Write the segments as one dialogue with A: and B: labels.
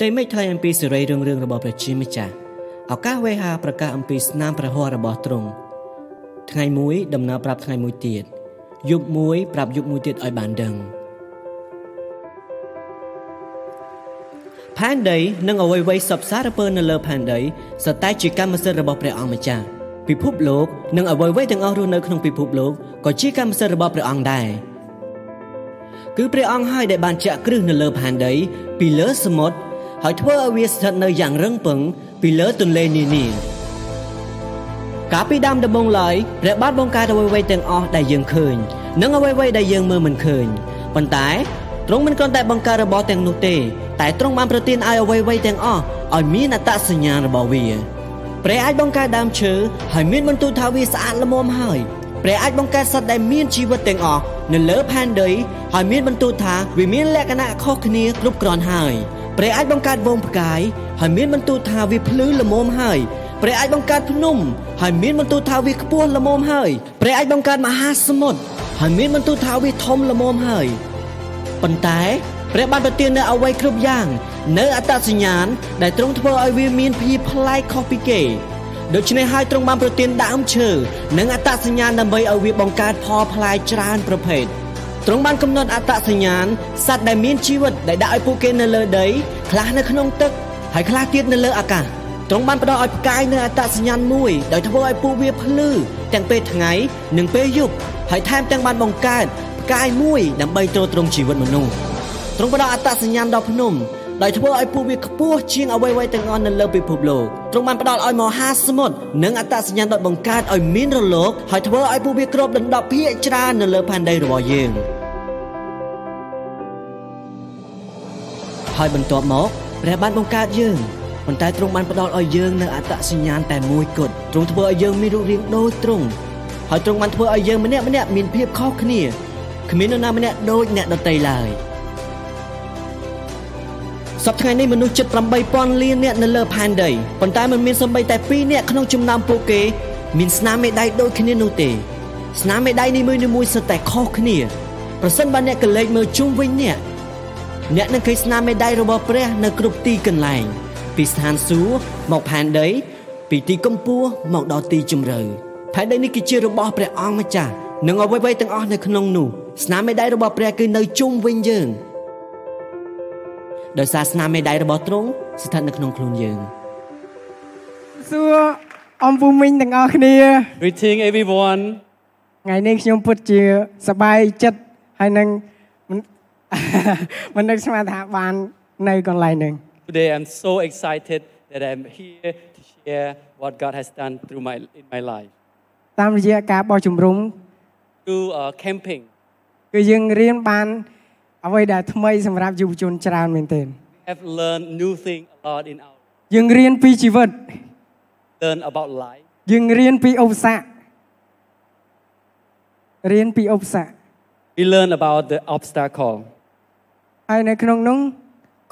A: តេមិចថ្លែងអំពីសេរីរឿងរឿងរបស់ព្រះជាម្ចាស់ឱកាសវេហាប្រកាសអំពីស្នាមព្រះហស្ថរបស់ទ្រង់ថ្ងៃមួយដំណើរប្រាប់ថ្ងៃមួយទៀតយប់មួយប្រាប់យប់មួយទៀតឲ្យបានដឹងផែនដីនិងអ្វីៗសពសារពើនៅលើផែនដីសតែជាកម្មសិទ្ធិរបស់ព្រះអង្គម្ចាស់ពិភពលោកនិងអ្វីៗទាំងអស់រស់នៅក្នុងពិភពលោកក៏ជាកម្មសិទ្ធិរបស់ព្រះអង្គដែរគឺព្រះអង្គហើយដែលបានចាក់គ្រឹះនៅលើផែនដីពីលើសមុទ្រហើយធ្វើឲ្យវាស្ថិតនៅយ៉ាងរឹងពឹងពីលើទន្លេនានាកាលពីដើមដំបូងឡើយព្រះបាទបង្កើតអ្វីៗទាំងអស់ដែលយើងឃើញនិងអ្វីៗដែលយើងមើលមិនឃើញប៉ុន្តែទ្រង់មិនគ្រាន់តែបង្កើតរបស់ទាំងនោះទេតែទ្រង់បានប្រទានឲ្យអ្វីៗទាំងអស់ឲ្យមានអត្តសញ្ញាណរបស់វាព្រះអាចបង្កើតដើមឈើហើយមានបន្ទូលថាវាស្អាតល្មមហើយព្រះអាចបង្កើតសត្វដែលមានជីវិតទាំងអស់នៅលើផែនដីហើយមានបន្ទូលថាវាមានលក្ខណៈខុសគ្នាគ្រប់គ្រាន់ហើយព្រះអាចបង្កើតវងផ្កាយហើយមានបន្ទូលថាវាភ្លឺល្មមហើយព្រះអាចបង្កើតភ្នំហើយមានបន្ទូលថាវាខ្ពស់ល្មមហើយព្រះអាចបង្កើតមហាសមុទ្រហើយមានបន្ទូលថាវាធំល្មមហើយប៉ុន្តែព្រះបានប្រទាននៅអ្វីគ្រប់យ៉ាងនៅអត្តសញ្ញាណដែលទ្រង់ធ្វើឲ្យវាមានភាពប្លែកខុសពីគេដូច្នេះហើយទ្រង់បានប្រទានដើមឈើនិងអត្តសញ្ញាណដើម្បីឲ្យវាបង្កើតផលផ្លែច្រើនប្រភេទទ្រង់បានកំណត់អត្តសញ្ញាណសត្វដែលមានជីវិតដែលដាក់ឲ្យពួកគេនៅលើដីខ្លះនៅក្នុងទឹកហើយខ្លះទៀតនៅលើអាកាសទ្រង់បានផ្ដល់ឲ្យផ្កាយនៅអត្តសញ្ញាណមួយដោយធ្វើឲ្យពួកវាភ្លឺទាំងពេលថ្ងៃនិងពេលយប់ហើយថែមទាំងបានបង្កើតផ្កាយមួយដើម្បីទ្រទ្រង់ជីវិតមនុស្សទ្រង់ផ្ដល់អត្តសញ្ញាណដល់ភ្នំដោយធ្វើឲ្យពួកវាខ្ពស់ជាងអ្វីៗទាំងអស់នៅលើពិភពលោកទ្រង់បានផ្ដល់ឲ្យមហាសមុទ្រនិងអត្តសញ្ញាណដោយបង្កើតឲ្យមានរលកហើយធ្វើឲ្យពួកវាគ្របដណ្ដប់ភាគច្រើននៅលើផែនដីរបស់យើងហើយបន្ទាប់មកព្រះបានបង្កើតយើងប៉ុន្តែទ្រង់បានផ្ដល់ឲ្យយើងនៅអត្តសញ្ញាណតែមួយគត់ទ្រង់ធ្វើឲ្យយើងមានរូបរាងដូចទ្រង់ហើយទ្រង់បានធ្វើឲ្យយើងម្នាក់ម្នាក់មានភាពខុសគ្នាគ្មាននរណាម្នាក់ដូចអ្នកដទៃឡើយសប្តាហ៍នេះមនុស្សជិត8000លាននាក់នៅលើផែនដីប៉ុន្តែមិនមានសំបីតែ2នាក់ក្នុងចំណោមពួកគេមានស្នាមមេដៃដូចគ្នានោះទេស្នាមមេដៃនីមួយៗសុទ្ធតែខុសគ្នាប្រសិនបើអ្នកកលេចមើលជុំវិញអ្នកអ្នកនឹងឃើញស្នាមមេដៃរបស់ព្រះនៅគ្រប់ទីកន្លែងពីស្ថានសួគ៌មកផែនដី ពីទីកំពូលមកដល់ទីជម្រៅផែនដីនេះគឺជារបស់ព្រះអង្គម្ចាស់និងអ្វីៗទាំងអស់នៅក្នុងនោះស្នាមមេដៃរបស់ព្រះគឺនៅជុំវិញយើងដោយសារស្នាមមេដៃរបស់ទ្រង់ស្ថិតនៅក្នុងខ្លួនយើង
B: សួរអំពុមិញទាំងអស់គ្នា
C: Greeting everyone
B: ថ្ងៃនេះខ្ញុំពិតជាសប្បាយចិត្តហើយនឹង មិន មិននឹកស្មានថាបាននៅកន្លែងនេះ
C: Today I'm so excited that I'm here to share what God has done through my in my life
B: តាមរយៈការបោះជំរំ
C: through uh, camping
B: គឺយើងរៀនបានអ្វីដែលថ្មីសម្រាប់យុវជនច្រើនមែនទែន
C: we have learned new thing a lot in our
B: យើងរៀនពីជីវិត
C: learn about life
B: យើងរៀនពីឧបសគ្គរៀនពីឧបសគ្គ
C: we learn about the obstacle
B: ហើយនៅក្នុងនោះ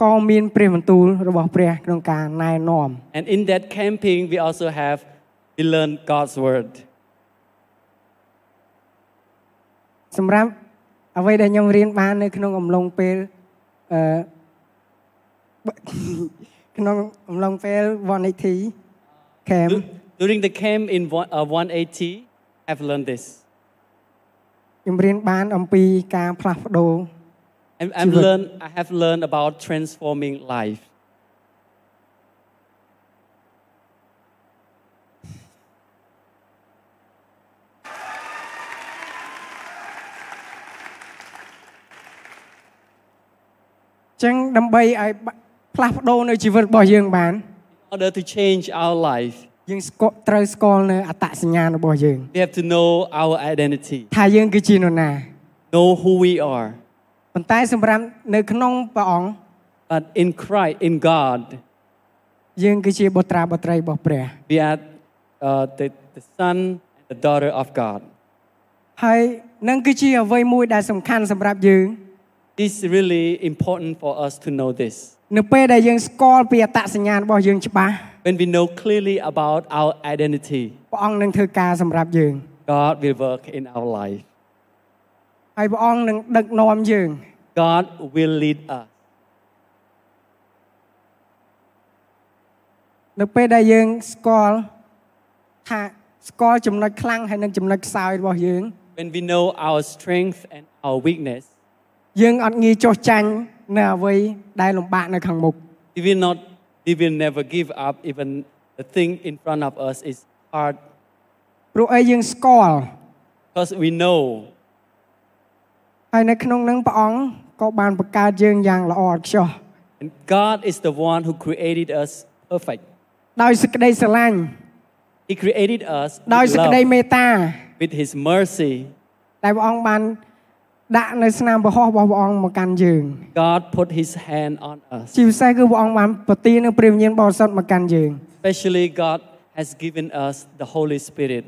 B: ក៏មានព្រះបន្ទូលរបស់ព្រះក្នុងការណែនាំ
C: and in that camping we also have we learn God's word
B: សម្រាប់អ្វីដែលខ្ញុំរៀនបាននៅក្នុងអំឡុងពេលអឺ ក្នុងអំឡុងពេល180 camp
C: Du- during the camp in one- uh, 180 I've learned this
B: ខ្ញុំរៀនបានអំពីការផ្លាស់ប្ដូរ
C: I'm, I'm
B: Good.
C: learn I have learned about transforming life
B: អញ្ចឹងដើម្បីឲ្យបាក់ផ្លាស់ប្ដូរនៅជីវិតរបស់យើងបាន
C: in order to change our life
B: យើងស្គាល់ត្រូវស្គាល់នៅអត្តសញ្ញាណរបស់យើង
C: we have to know our identity
B: ថាយើងគឺជានរណា
C: know who we are.
B: ប៉ុន្តែសម្រាប់នៅក្នុងព្រះអង្គ
C: But in Christ, in God,
B: យើងគឺជាបុត្រាបុត្រីរបស់ព្រះ
C: we are uh, the, the son and the daughter of God.
B: ហើយនឹងគឺជាអ្វីមួយដែលសំខាន់សម្រាប់យើង
C: This is really important for us to know this.
B: នៅពេលដែលយើងស្គាល់ពីអត្តសញ្ញាណរបស់យើងច្បាស់
C: When we know clearly about our identity,
B: ព្រះអង្គនឹងធ្វើការសម្រាប់យើង
C: God will work in our life.
B: ហើយព្រះអង្គនឹងដឹកនាំយើង
C: God will lead us.
B: នៅពេលដែលយើងស្គាល់ថាស្គាល់ចំណុចខ្លាំងហើយនិងចំណុចខ្សោយរបស់យើង
C: When we know our strength and our weakness,
B: យើងអត់ងាយចោះចាញ់នៅអ្វីដែលលំបាកនៅខាងមុខ
C: we will not, we will never give up. Even the thing in front of us is hard,
B: ព្រោះអីយើងស្គាល់
C: because we know
B: ហើយនៅក្នុងនឹងព្រះអង្គក៏បានបង្កើតយើងយ៉ាងល្អឥតខ្ចោះ
C: And God is the one who created us perfect.
B: ដោយសេចក្តីស្រឡាញ់
C: He created us
B: ដោយ
C: with,
B: សេចក្តី
C: love,
B: មេត្តា
C: with His mercy.
B: ដែលព្រះអង្គបានដាក់នៅស្នាមពហោះរបស់ព្រះអង្គមកកាន់យើង
C: God put His hand on us.
B: ជាពិសេសគឺព្រះអង្គបានប្រទាននូវព្រះវិញ្ញាណបរិសុទ្ធមកកាន់យើង
C: Especially, God has given us the Holy Spirit.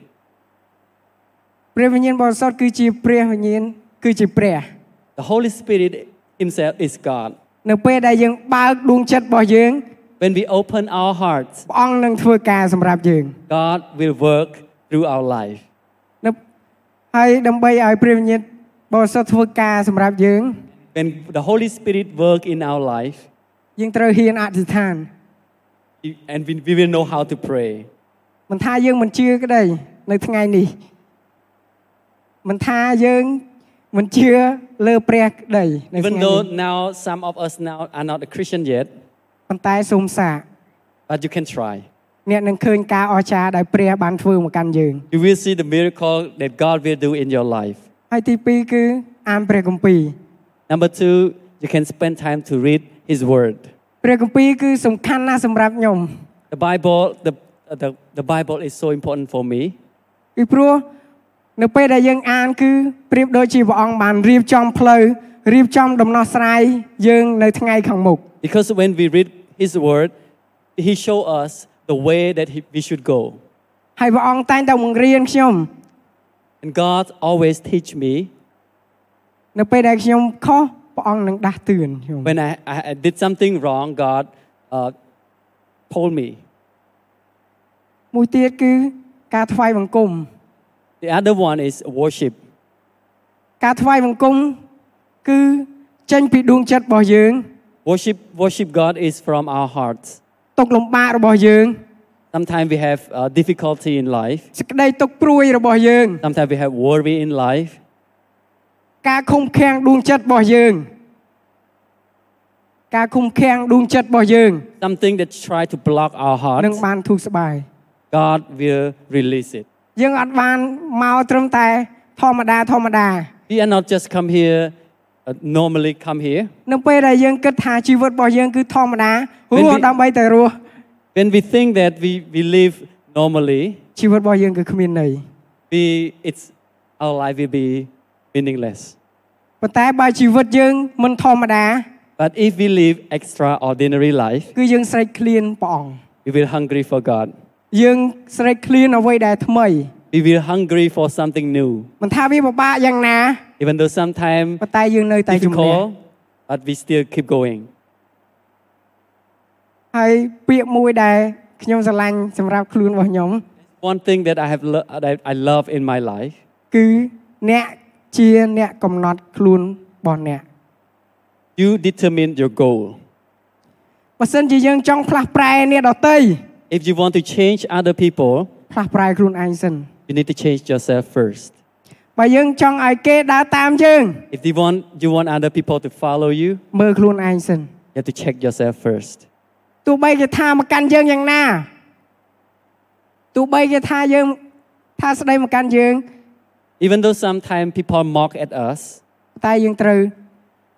B: ព្រះវិញ្ញាណបរិសុទ្ធគឺជាព្រះវិញ្ញាណគឺជាព្រះ
C: The Holy Spirit Himself is God.
B: នៅពេលដែលយើងបើកដួងចិត្តរបស់យើង
C: When we open our hearts,
B: ព្រះអង្គនឹងធ្វើការសម្រាប់យើង
C: God will work through our life.
B: នៅហើយដើម្បីឲ្យព្រះវិញ្ញាណបរិសុទ្ធធ្វើការសម្រាប់យើង
C: When the Holy Spirit work in our life,
B: យើងត្រូវហ៊ានអធិដ្ឋាន
C: and we, we will know how to pray.
B: មិនថាយើងមិនជឿក្តីនៅថ្ងៃនេះមិនថាយើងមិនជឿលើព្រះក្តីនៅថ្ងៃ
C: Even
B: នេះ
C: though now some of us now are not a Christian yet,
B: ប៉ុន្តែសូមសាក
C: but you can try.
B: អ្នកនឹងឃើញការអស្ចារ្យដែលព្រះបានធ្វើមកកាន់យើង
C: you will see the miracle that God will do in your life.
B: ហើយទី2គឺអានព្រះគម្ពីរ
C: Number two, you can spend time to read His Word.
B: ព្រះគម្ពីរគឺសំខាន់ណាស់សម្រាប់ខ្ញុំ
C: The Bible, the, uh, the, the Bible is so important for me
B: ពីព្រោះនៅពេលដែលយើងអានគឺប្រៀបដូចជាព្រះអង្គបានរៀបចំផ្លូវរៀបចំដំណោះស្រាយយើងនៅថ្ងៃខាងមុខ
C: because when we read His Word, He shows us the way that he, we should go.
B: ហើយព្រះអង្គតែងតែបង្រៀនខ្ញុំ
C: And God always teach me
B: នៅពេលដែលខ្ញុំខុសព្រះអង្គនឹងដាស់តឿនខ្ញុំ
C: when I, I I did something wrong, God uh, told me.
B: មួយទៀតគឺការថ្វាយបង្គំ
C: The other one is worship.
B: ការថ្វាយបង្គំគឺចេញពីដួងចិត្តរបស់យើង
C: Worship, worship God is from our hearts.
B: ទុកលំបាករបស់យើង
C: Sometimes we have uh, difficulty in life.
B: សេចក្តីទុកព្រួយរបស់យើង
C: Sometimes we have worry in life.
B: ការខំខាំងដួងចិត្តរបស់យើង ការខំខាំងដួងចិត្តរបស់យើង
C: Something that try to block our
B: នឹង
C: hearts.
B: បានធូរស្បើយ
C: God will release it.
B: យើងអត់បានមកត្រឹមតែធម្មតាធម្មតា
C: We are not just come here, uh, normally come here.
B: នៅពេលដែលយើងគិតថាជីវិតរបស់យើងគឺធម្មតារស់
C: When we-
B: ដើម្បីតែរស់
C: When we think that we, we live normally,
B: ជីវិតរបស់យើងគឺគ្មានន័យ
C: we, it's, our life will be meaningless.
B: ប៉ុន្តែបើជីវិតយើងមិនធម្មតា
C: But if we live extraordinary life,
B: គឺយើងស្រេកឃ្លានព្រះអង្គ
C: we will hungry for God.
B: យើងស្រេកឃ្លានអ្វីដែលថ្មី
C: We will hungry for something new.
B: មិនថាវាពិបាកយ៉ាងណា
C: Even though sometimes
B: ប៉ុន្តែយើងនៅតែជំនះ
C: difficult, but we still keep going.
B: ហើយពាក្យមួយដែលខ្ញុំស្រឡាញ់សម្រាប់ខ្លួនរបស់ខ្ញុំ
C: One thing that I have lo- that I love in my life
B: គឺអ្នកជាអ្នកកំណត់ខ្លួនរបស់អ្នក
C: You determine your goal.
B: បើសិនជាយើងចង់ផ្លាស់ប្រែអ្នកដទៃ
C: If you want to change other people,
B: ផ្លាស់ប្រែខ្លួនឯងសិន
C: you need to change yourself first.
B: បើយើងចង់ឲ្យគេដើរតាមយើង
C: If you want, you want other people to follow you, you
B: មើលខ្លួនឯងសិន
C: have to check yourself first.
B: ទោះបីគេថាមកកាន់យើងយ៉ាងណាទោះបីគេថាយើងថាស្ដីមកកាន់យើង
C: Even though sometimes people mock at us,
B: តែយើងត្រូវ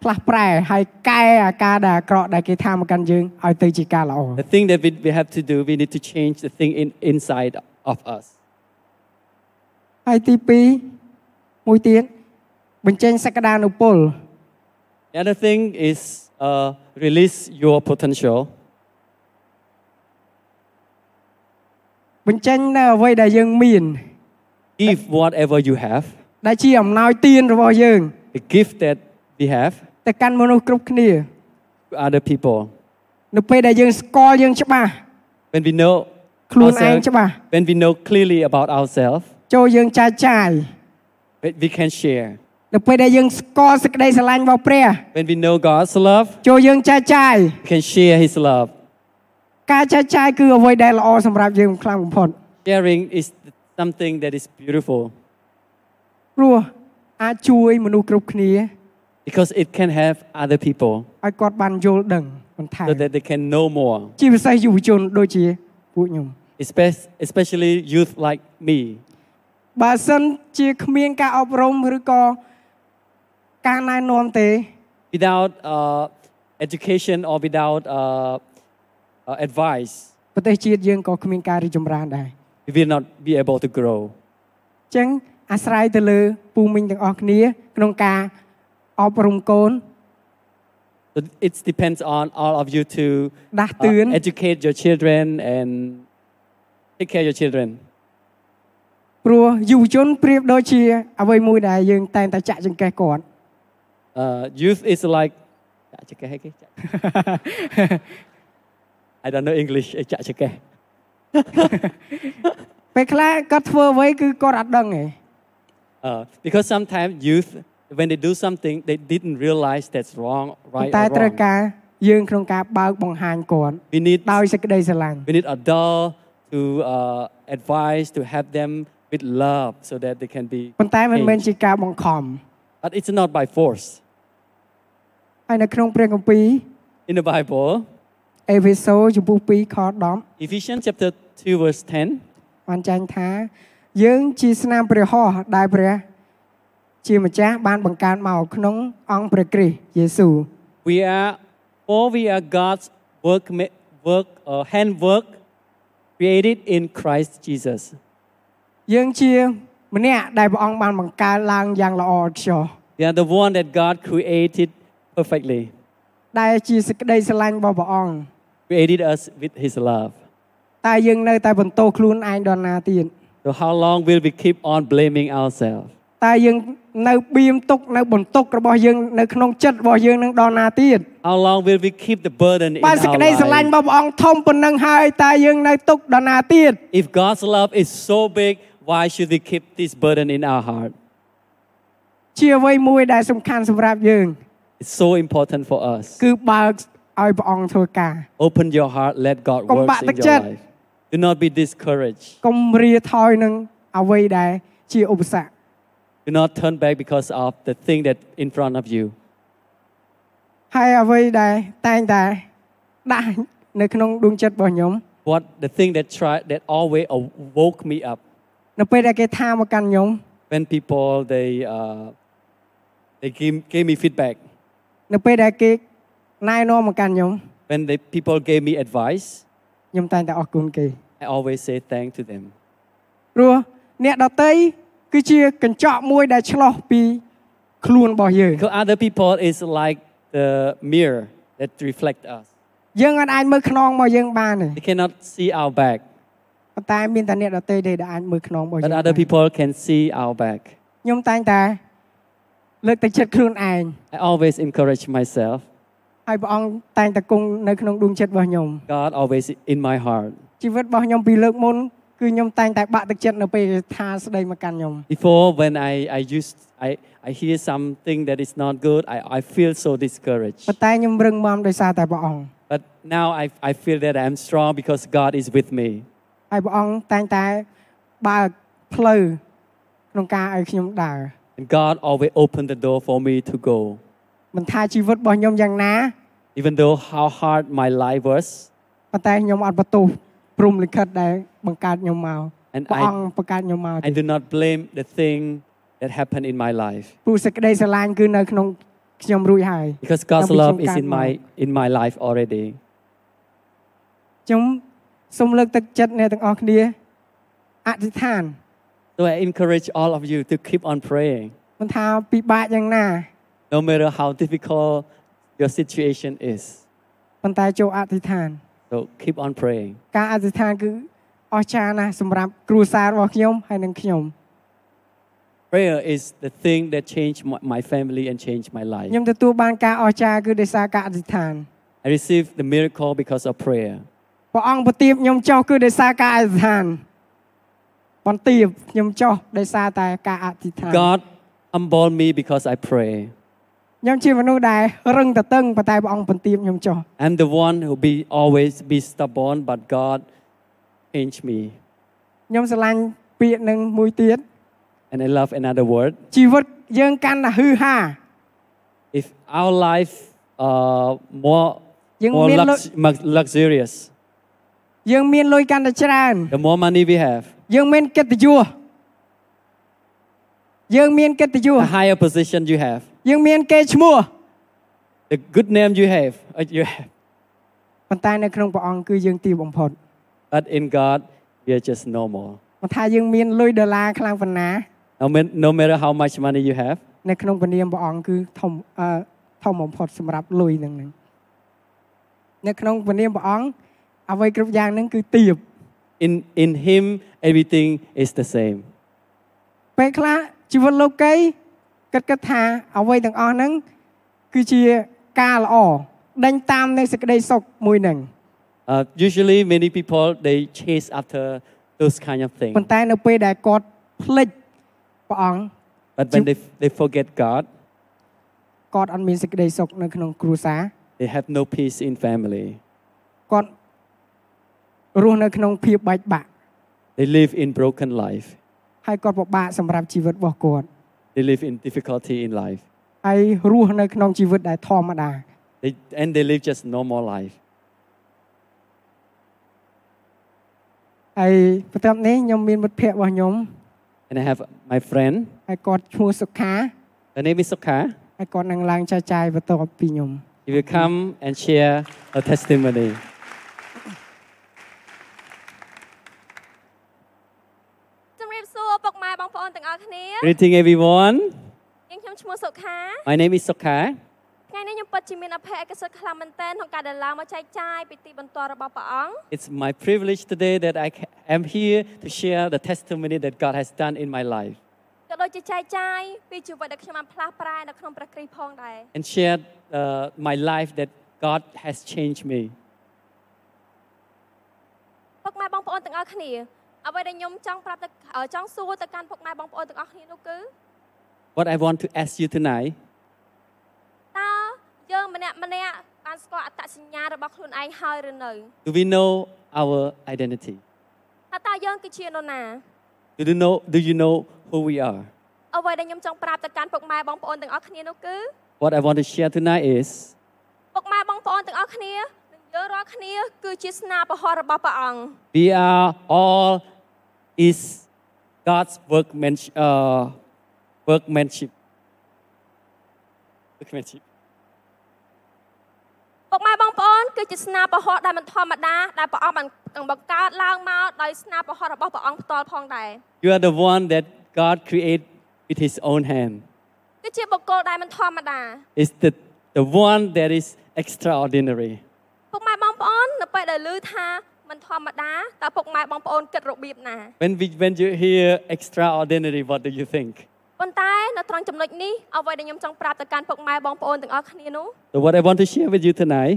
B: ផ្លាស់ប្រែហើយកែអាការដែលអាក្រក់ដែលគេថាមកកាន់យើងឲ្យទៅជាការល្អ
C: the thing that we, we have to do, we need to change the thing in, inside of us.
B: ហើយទី2មួយទៀតបញ្ចេញសក្តានុពល
C: The other thing is uh, release your potential.
B: បញ្ចេញនៅអ្វីដែលយើងមាន
C: Give whatever you have,
B: ដែលជាអំណោយទានរបស់យើង
C: the gift that we have,
B: ទៅកាន់មនុស្សគ្រប់គ្នា
C: to other people.
B: នៅពេលដែលយើងស្គាល់យើងច្បាស់
C: When we know
B: ខ្លួនឯង
C: ourselves,
B: ច្បាស់
C: when we know clearly about ourselves,
B: ចូលយើងចែកចាយ
C: we we can share.
B: នៅពេលដែលយើងស្គាល់សេចក្តីស្រឡាញ់របស់ព្រះ
C: When we know God's love,
B: ចូលយើងចែកចាយ
C: we can share His love.
B: ការចែកចាយគឺអ្វីដែលល្អសម្រាប់យើងខ្លាំងបំផុត
C: Sharing is something that is beautiful
B: ព្រោះអាចជួយមនុស្សគ្រប់គ្នា
C: because it can help other people
B: ឲ្យគាត់បានយល់ដឹងបន្ថែម
C: so that they can know more,
B: ជាពិសេសយុវជនដូចជាពួកខ្ញុំ
C: Espe- especially youth like me.
B: បើសិនជាគ្មានការអប់រំឬក៏ការណែនាំទេ
C: Without uh, education or without uh, uh, advice,
B: ប្រទេសជាតិយើងក៏គ្មានការរីកចម្រើនដែរ
C: we will not be able to grow.
B: អញ្ចឹងអាស្រ័យទៅលើពូមីងទាំងអស់គ្នា ក្នុងការអប់រំកូន
C: So it depends on all of you to
B: ដាស់
C: uh,
B: តឿន
C: educate your children and take care of your children.
B: ព្រោះយុវជនប្រៀបដូចជាអ្វីមួយដែលយើងតែងតែចាក់ចង្កេះគាត់
C: Uh, youth is like. I don't know English. But
B: ពេលខ្លះគាត់ធ្វើអ្វីគឺគាត់អត់ដឹងទេ
C: Uh, because sometimes youth, when they do something, they didn't realize that's wrong,
B: ប៉ុ
C: right
B: ន្តែ
C: or
B: ត្រូវ
C: wrong.
B: ការយើងក្នុងការបើកបង្ហាញគាត់
C: We need
B: ដោយសេចក្តីស្រឡាញ់
C: we need adult to uh, advise to help them with love so that they can be.
B: ប៉ុន្តែមិនមែន
C: changed.
B: ជាការបង្ខំ
C: But it's not by force.
B: ហើយនៅក្នុងព្រះគម្ពីរ
C: In the Bible,
B: អេភេសូជំពូក2ខ10
C: Ephesians chapter two verse ten.
B: បានចែងថា យើងជាស្នាមព្រះហស្ថដែលព្រះ ជាម្ចាស់បានបង្កើតមកក្នុងអង្គព្រះគ្រីស្ទយេស៊ូ
C: We are, for we are God's work, work uh, handwork created in Christ Jesus.
B: យើងជាម្នាក់ដែលព្រះអង្គបានបង្កើតឡើងយ៉ាងល្អឥតខ្ចោះ
C: We are the one that God created perfectly,
B: ដែលជាសេចក្តីស្រឡាញ់របស់ព្រះអង្គ
C: created us with His love.
B: តែយើងនៅតែបន្តោសខ្លួនឯងដល់ណាទៀត
C: So how long will we keep on blaming ourselves?
B: តែយើងនៅបៀមទុកនៅបន្ទុករបស់យើងនៅក្នុងចិត្តរបស់យើងនឹងដល់ណាទៀត
C: How long will we keep the burden in
B: បើ
C: our
B: សេចក្តីស្រឡាញ់
C: life?
B: របស់ព្រះអង្គធំប៉ុណ្ណឹងហើយតែយើងនៅទុកដល់ណាទៀត
C: If God's love is so big, why should we keep this burden in our heart?
B: ជាអ្វីមួយដែលសំខាន់សម្រាប់យើង
C: It's so important for us.
B: គឺបើកឲ្យព្រះអង្គធ្វើការ
C: Open your heart, let God
B: Con
C: work
B: bạn
C: in
B: thực
C: your
B: chất.
C: life. Do not be discouraged.
B: កុំរាថយនឹងអ្វីដែលជាឧបសគ្គ
C: Do not turn back because of the thing that in front of you.
B: ហើយអ្វីដែលតែងតែដាក់នៅក្នុងដួងចិត្តរបស់ខ្ញុំ
C: What the thing that tried that always woke me up
B: នៅពេលដែលគេថាមកកាន់ខ្ញុំ
C: when people they uh, they gave, gave me feedback
B: នៅពេលដែលគេណែនាំមកកាន់ខ្ញុំ
C: when the people gave me advice.
B: ខ្ញុំតែងតែអរគុណគេ
C: I always say thank to them
B: ព្រោះអ្នកដតីគឺជាកញ្ចក់មួយដែលឆ្លោះពីខ្លួនរបស់យើង
C: because other people is like the mirror that reflect us.
B: យើងអត់អាចមើលខ្នងរបស់យើងបានទេ
C: They cannot see our back,
B: ប៉ុន្តែមានតែអ្នកដតីទេដែលអាចមើលខ្នងរបស់យើ
C: but
B: ងបាន
C: other people can see our back.
B: ខ្ញុំតែងតែលើកទឹកចិត្តខ្លួនឯង
C: I always encourage myself.
B: ហើយព្រះអង្គតែងតែគង់នៅក្នុងដួងចិត្តរបស់ខ្ញុំ
C: God always in my heart.
B: ជីវិតរបស់ខ្ញុំពីលើកមុនគឺខ្ញុំតែងតែបាក់ទឹកចិត្តនៅពេលគេថាស្ដីមកកាន់ខ្ញុំ
C: Before, when I, I used, I, I hear something that is not good, I, I feel so discouraged.
B: ប៉ុន្តែខ្ញុំរឹងមាំដោយសារតែព្រះអង្គ
C: But now I, I feel that I'm strong because God is with me.
B: ហើយព្រះអង្គតែងតែបើកផ្លូវក្នុងការឲ្យខ្ញុំដើរ
C: And God always opened the door for me to go.
B: មិនថាជីវិតរបស់ខ្ញុំយ៉ាងណា
C: Even though how hard my life was,
B: ប៉ុន្តែខ្ញុំអត់បន្ទោសព្រំលិខិតដែលបង្កើតខ្ញុំមក
C: And
B: ព្រះ
C: I-
B: អង្គបង្កើតខ្ញុំមក
C: I do not blame the thing that happened in my life.
B: ព្រោះសេចក្តីស្រឡាញ់គឺនៅក្នុងខ្ញុំរួចហើយ
C: Because God's
B: Tapi
C: love
B: sungkan
C: is in
B: mo.
C: my, in my life already.
B: ខ្ញុំសូមលើកទឹកចិត្តអ្នកទាំងអស់គ្នាអធិដ្ឋាន
C: So I encourage all of you to keep on praying.
B: មិនថាពិបាកយ៉ាងណា
C: No matter how difficult your situation is.
B: ប៉ុន្តែចូលអធិដ្ឋាន
C: So keep on praying.
B: ការអធិដ្ឋានគឺអស្ចារ្យណាស់សម្រាប់គ្រួសាររបស់ខ្ញុំហើយនិងខ្ញុំ
C: Prayer is the thing that changed my, my family and changed my life.
B: ខ្ញុំទទួលបានការអស្ចារ្យគឺដោយសារការអធិដ្ឋាន
C: I received the miracle because of prayer.
B: ព្រះអង្គប្រទាបខ្ញុំចុះគឺដោយសារការអធិដ្ឋានបន្ទាបខ្ញុំចុះដោយសារតែការអធិដ្ឋាន
C: God humbled me because I pray.
B: ខ្ញុំជាមនុស្សដែលរឹងតឹងប៉ុន្តែព្រះអង្គបន្ទាបខ្ញុំចុះ
C: I'm the one who be always be stubborn, but God changed me.
B: ខ្ញុំស្រឡាញ់ពាក្យនឹងមួយទៀត
C: And I love another word.
B: ជីវិតយើងកាន់តែហឺហា
C: If our life uh, more
B: Yung
C: more
B: may
C: lux- mu- luxurious,
B: យើងមានលុយកាន់តែច្រើន
C: the more money we have,
B: យើងមានកិត្តិយសយើងមានកិត្តិយស
C: the higher position you have,
B: យើងមានកេរ្តិ៍ឈ្មោះ
C: the good name you have, uh, you have.
B: ប៉ុន្តែនៅក្នុងព្រះអង្គគឺយើងទាបបំផុត
C: But in God, we are just normal.
B: មិនថាយើងមានលុយដុល្លារខ្លាំងប៉ុណ្ណា
C: No, ma- no matter how much money you have,
B: នៅក្នុងព្រះនាមព្រះអង្គគឺធំអឺធំបំផុតសម្រាប់លុយហ្នឹងហ្នឹងនៅក្នុងព្រះនាមព្រះអង្គអ្វីគ្រប់យ៉ាងហ្នឹងគឺទាប
C: in in Him everything is the same.
B: ពេលខ្លះជីវិតលោកីគិតគិតថាអ្វីទាំងអស់ហ្នឹងគឺជាការល្អដេញតាមនៃសេចក្តីសុខមួយហ្នឹង
C: Uh, usually, many people they chase after those kind of
B: ប៉ុ
C: things,
B: ន្តែនៅពេលដែលគាត់ភ្លេចព្រះអង្គ
C: but when they they forget God,
B: គាត់អត់មានសេចក្តីសុខនៅក្នុងគ្រួសារ
C: they have no peace in family.
B: គាត់រស់នៅក្នុងភាពបែកបាក់
C: They live in broken life.
B: ហើយគាត់ពិបាកសម្រាប់ជីវិតរបស់គាត់
C: They live in difficulty in life.
B: ហើយរស់នៅក្នុងជីវិតដែលធម្មតា
C: They, and they live just normal life.
B: ហើយបន្ទាប់នេះខ្ញុំមានមិត្តភ័ក្តិរបស់ខ្ញុំ
C: And I have my friend.
B: ហើយគាត់ឈ្មោះសុខា
C: Her name is Sokha.
B: ហើយគាត់នឹងឡើងចែកចាយបន្ទាប់ពីខ្ញុំ
C: She will come and share her testimony.
D: ជំរាបសួរពុកម៉ែបងប្អូនទាំងអស់គ្នា
C: Greeting everyone.
D: យើងខ្ញុំឈ្មោះសុខា
C: My name is Sokha.
D: ថ្ងៃនេះខ្ញុំពិតជាមានអភ័យឯកសិទ្ធិខ្លាំងមែនទែនក្នុងការដែលឡើងមកចែកចាយពីទីបន្ទាល់របស់ព្រះអង្គ
C: It's my privilege today that I ca- am here to share the testimony that God has done in my life
D: ក៏ដូចជាចែកចាយពីជីវិតដែលខ្ញុំបានផ្លាស់ប្រែនៅក្នុងព្រះគ្រីស្ទផងដែរ
C: and share uh, my life that God has changed me.
D: ពុកម៉ែបងប្អូនទាំងអស់គ្នាអ្វីដែលខ្ញុំចង់ប្រាប់ទៅអឺចង់សួរទៅកាន់ពុកម៉ែបងប្អូនទាំងអស់គ្នានោះគឺ
C: What I want to ask you tonight
D: តើយើងម្នាក់ម្នាក់បានស្គាល់អត្តសញ្ញាណរបស់ខ្លួនឯងហើយឬនៅ
C: do we know our identity?
D: ថាតើយើងគឺជានរណា
C: Do you know, do you know who we are?
D: អ្វីដែលខ្ញុំចង់ប្រាប់ទៅកាន់ពុកម៉ែបងប្អូនទាំងអស់គ្នានោះគឺ
C: What I want to share tonight is
D: ពុកម៉ែបងប្អូនទាំងអស់គ្នានិងយើងរាល់គ្នា គឺជាស្នាព្រះហស្ថរបស់ព្រះអង្គ
C: we are all is God's workmanship. Uh, workmanship. Workmanship.
D: ពុកម៉ែបងប្អូនគឺជាស្នាព្រះហស្ថដែលមិនធម្មតាដែលព្រះអង្គបានបង្កើតឡើងមកដោយស្នាព្រះហស្ថរបស់ព្រះអង្គផ្ទាល់ផងដែរ
C: You are the one that God created with His own hand.
D: គឺជាបុគ្គលដែលមិនធម្មតា
C: It's the, the one that is extraordinary.
D: ពុកម៉ែបងប្អូននៅពេលដែលឮថាមិនធម្មតាតើពុកម៉ែបងប្អូនគិតរបៀបណា
C: When, we, when you hear extraordinary, what do you think?
D: ប៉ុន្តែនៅត្រង់ចំណុចនេះអ្វីដែលខ្ញុំចង់ប្រាប់ទៅកាន់ពុកម៉ែបងប្អូនទាំងអស់គ្នានោះ
C: So, what I want to share with you tonight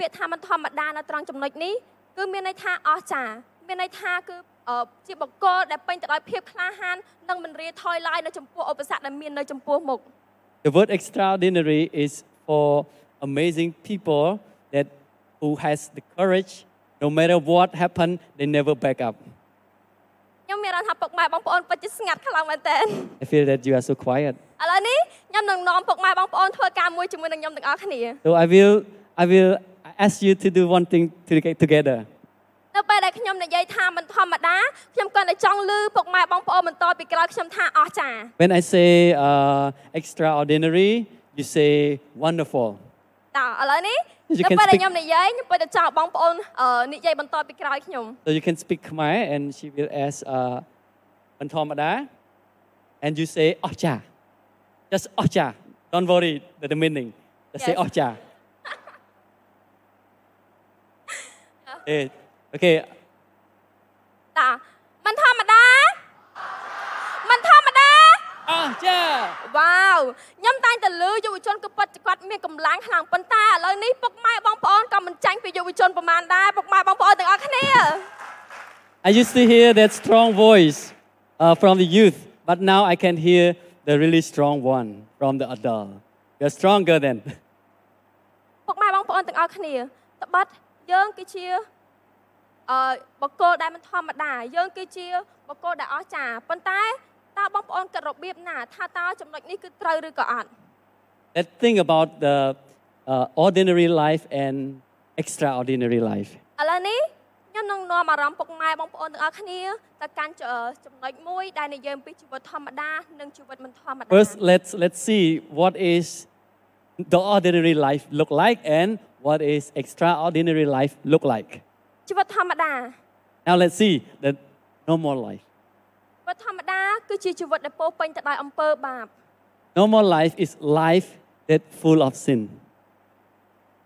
D: ពាក្យថាមិនធម្មតានៅត្រង់ចំណុចនេះគឺមានន័យថាអស្ចារ្យមានន័យថាគឺអឺជាបកគលដែលពេញទៅដោយភាពក្លាហាននិងមិនរាថយឡើយនៅចំពោះឧបសគ្គដែលមាននៅចំពោះមុខ
C: The word extraordinary is for amazing people that who has the courage, no matter what happened, they never back up.
D: ខ្ញុំមានអារម្មណ៍ថាពុកម៉ែបងប្អូនពិតជាស្ងាត់ខ្លាំងមែនទែន
C: I feel that you are so quiet.
D: ឥឡូវនេះខ្ញុំនឹងនាំពុកម៉ែបងប្អូនធ្វើការមួយជាមួយនឹងខ្ញុំទាំងអស់គ្នា
C: So I will, I will ask you to do one thing to get together.
D: នៅពេលដែលខ្ញុំនិយាយថាមិនធម្មតាខ្ញុំគាត់តែចង់លឺពុកម៉ែបងប្អូនបន្តពីក្រោយខ្ញុំថាអស្ចារ្យ
C: When I say uh, extraordinary, you say wonderful.
D: តើឥឡូវនេះ
C: You
D: នៅ
C: can
D: ពេលដែល
C: speak-
D: ខ្ញុំនិយាយខ្ញុំពិតតែចង់ឲ្យបងប្អូនអឺនិយាយបន្តពីក្រោយខ្ញុំ
C: So you can speak Khmer and she will ask uh, Mantomada and you say Ocha. Just Ocha. Don't worry the, the meaning. Just say
D: Yes.
C: Ocha. okay. okay.
D: តាມັນធម្មតាມັនធម្មតា
C: Ocha.
D: វ៉ាវខ្ញុំតែងតែលើយុវជនក៏ពិតជាគាត់មានកម្លាំងខ្លាំងប៉ុន្តែឥឡូវនេះពុកម៉ែបងប្អូនក៏មិនចាញ់ពីយុវជនប្រហែលដែរពុកម៉ែបងប្អូនទាំងអស់គ្នា
C: I used to hear that strong voice uh, from the youth, but now I can hear the really strong one from the adult. We are stronger then.
D: ពុកម៉ែបងប្អូនទាំងអស់គ្នាត្បិតយើងគឺជាអឺបកគោដែលមិនធម្មតាយើងគឺជាបកគោដែលអស្ចារ្យប៉ុន្តែតើបងប្អូនគិតរបៀបណាថាតើចំណុចនេះគឺត្រូវឬក៏អត់
C: Let's think about the uh, ordinary life and extraordinary life.
D: ឥឡូវនេះខ្ញុំនឹងនាំអារម្មណ៍ពុកម៉ែបងប្អូនទាំងអស់គ្នាទៅកាន់ចចំណុចមួយដែលនិយាយអំពីជីវិតធម្មតានិងជីវិតមិនធម្មតា
C: First, let's let's see what is the ordinary life look like and what is extraordinary life look like.
D: ជីវិតធម្មតា
C: Now let's see the normal life.
D: ជីវិតធម្មតាគឺជាជីវិតដែលពោរពេញទៅដោយអំពើបាប
C: Normal life is life that full of sin.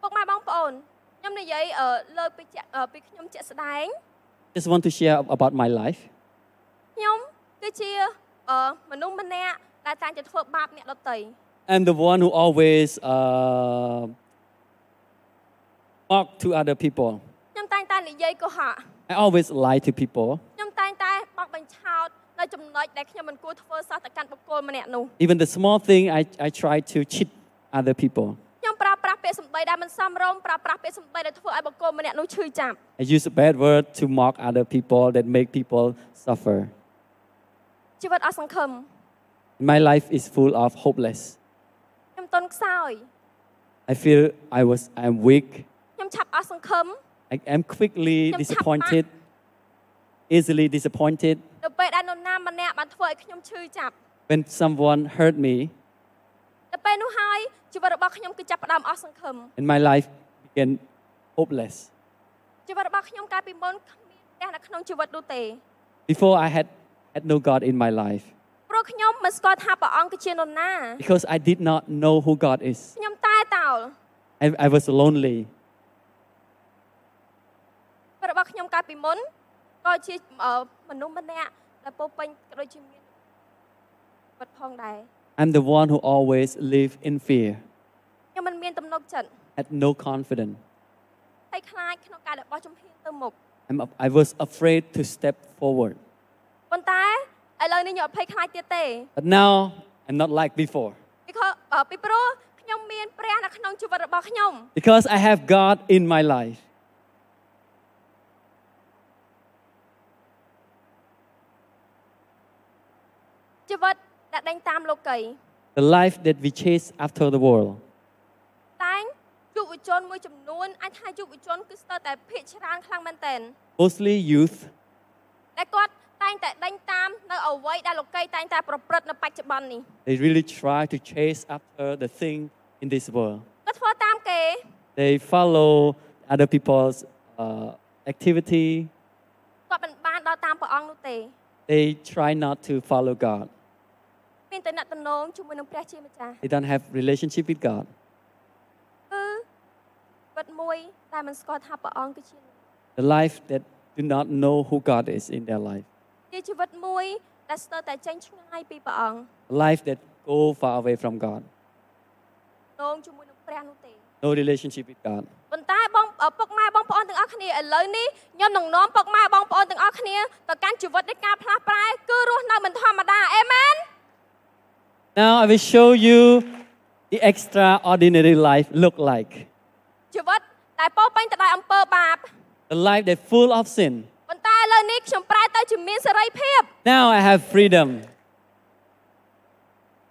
D: ពុកម៉ែបងប្អូនខ្ញុំនិយាយអឺលើកពីជាក់អឺពីខ្ញុំជាក់ស្ដែង
C: Just want to share about my life.
D: ខ្ញុំគឺជាអឺមនុស្សម្នាក់ដែលតែងតែធ្វើបាបអ្នកដទៃ
C: I'm the one who always uh, talk to other people.
D: ខ្ញុំតែងតែនិយាយកុហក
C: I always lie to people.
D: ខ្ញុំតែងតែបោកបញ្ឆោតនៅចំណុចដែលខ្ញុំមិនគួរធ្វើសោះទៅកាន់បុគ្គលម្នាក់នោះ
C: Even the small thing, I, I try to cheat other people.
D: ខ្ញុំប្រើប្រាស់ពាក្យសម្ដីដែលមិនសមរម្យប្រើប្រាស់ពាក្យសម្ដីដែលធ្វើឲ្យបុគ្គលម្នាក់នោះឈឺចាប់
C: I use a bad word to mock other people that make people suffer.
D: ជីវិតអស់សង្ឃឹម
C: My life is full of hopeless.
D: ខ្ញុំទន់ខ្សោយ
C: I feel I was I'm weak.
D: ខ្ញុំឆាប់អស់សង្ឃឹម
C: I am quickly
D: Chăm sóc
C: disappointed, easily disappointed.
D: នៅពេលដែលនរណាម្នាក់បានធ្វើឲ្យខ្ញុំឈឺចាប់
C: When someone hurt me,
D: នៅពេលនោះហើយជីវិតរបស់ខ្ញុំគឺចាប់ផ្ដើមអស់សង្ឃឹម
C: and my life became hopeless.
D: ជីវិតរបស់ខ្ញុំកាលពីមុនគ្មានអ្នកនៅក្នុងជីវិតនោះទេ
C: Before I had had no God in my life
D: ព្រោះខ្ញុំមិនស្គាល់ថាព្រះអង្គគឺជានរណា
C: because I did not know who God is.
D: ខ្ញុំតែតោល
C: I, I was lonely.
D: ជីវិតរបស់ខ្ញុំកាលពីមុនក៏ជាអឺមនុស្សម្នាក់ដែលពោរពេញក៏ដូចជាមានជីវិតផងដែរ
C: I'm the one who always live in fear,
D: ខ្ញុំមិនមានទំនុកចិត្ត
C: had no confidence.
D: ហើយខ្លាចក្នុងការដែលបោះជំហានទៅមុខ
C: I'm, af- I was afraid to step forward.
D: ប៉ុន្តែឥឡូវនេះខ្ញុំអត់ភ័យខ្លាចទៀតទេ
C: But now I'm not like before
D: because អឺពីព្រោះខ្ញុំមានព្រះនៅក្នុងជីវិតរបស់ខ្ញុំ
C: because I have God in my life.
D: ជីវិតដែលដេញតាមលោកី
C: The life that we chase after the world.
D: តែងយុវជនមួយចំនួនអាចថាយុវជនគឺស្ទើរតែភាកច្រើនខ្លាំងមែនទែន
C: Mostly youth,
D: តែលគាត់តែងតែដេញតាមនៅអ្វីដែលលោកីតែងតែប្រព្រឹត្តនៅបច្ចុប្បន្ននេះ
C: they really try to chase after the thing in this world.
D: គាត់ធ្វើតាមគេ
C: They follow other people's uh, activity.
D: គាត់មិនបានដល់តាមព្រះអង្គនោះទេ
C: They try not to follow God.
D: មានតែអ្នកតំណងជាមួយនឹងព្រះជាម្ចាស់
C: They don't have relationship with God.
D: គឺជីវិតមួយដែលមិនស្គាល់ថាព្រះអង្គគឺជា
C: The life that do not know who God is in their life.
D: ជាជីវិតមួយដែលស្ទើរតែចេញឆ្ងាយពីព្រះអង្គ
C: A life that go far away from God.
D: ដងជាមួយនឹងព្រះនោះទេ
C: No relationship with God.
D: ប៉ុន្តែបងអពុកម៉ែបងប្អូនទាំងអស់គ្នាឥឡូវនេះខ្ញុំនឹងនាំពុកម៉ែបងប្អូនទាំងអស់គ្នាទៅកាន់ជីវិតនៃការផ្លាស់ប្រែគឺរស់នៅមិនធម្មតាអេមែន
C: Now I will show you the extraordinary life look like.
D: ជីវិតដែលពោរពេញទៅដោយអំពើបាប
C: The life that full of sin.
D: ប៉ុន្តែឥឡូវនេះខ្ញុំប្រែទៅជាមានសេរីភាព
C: Now I have freedom.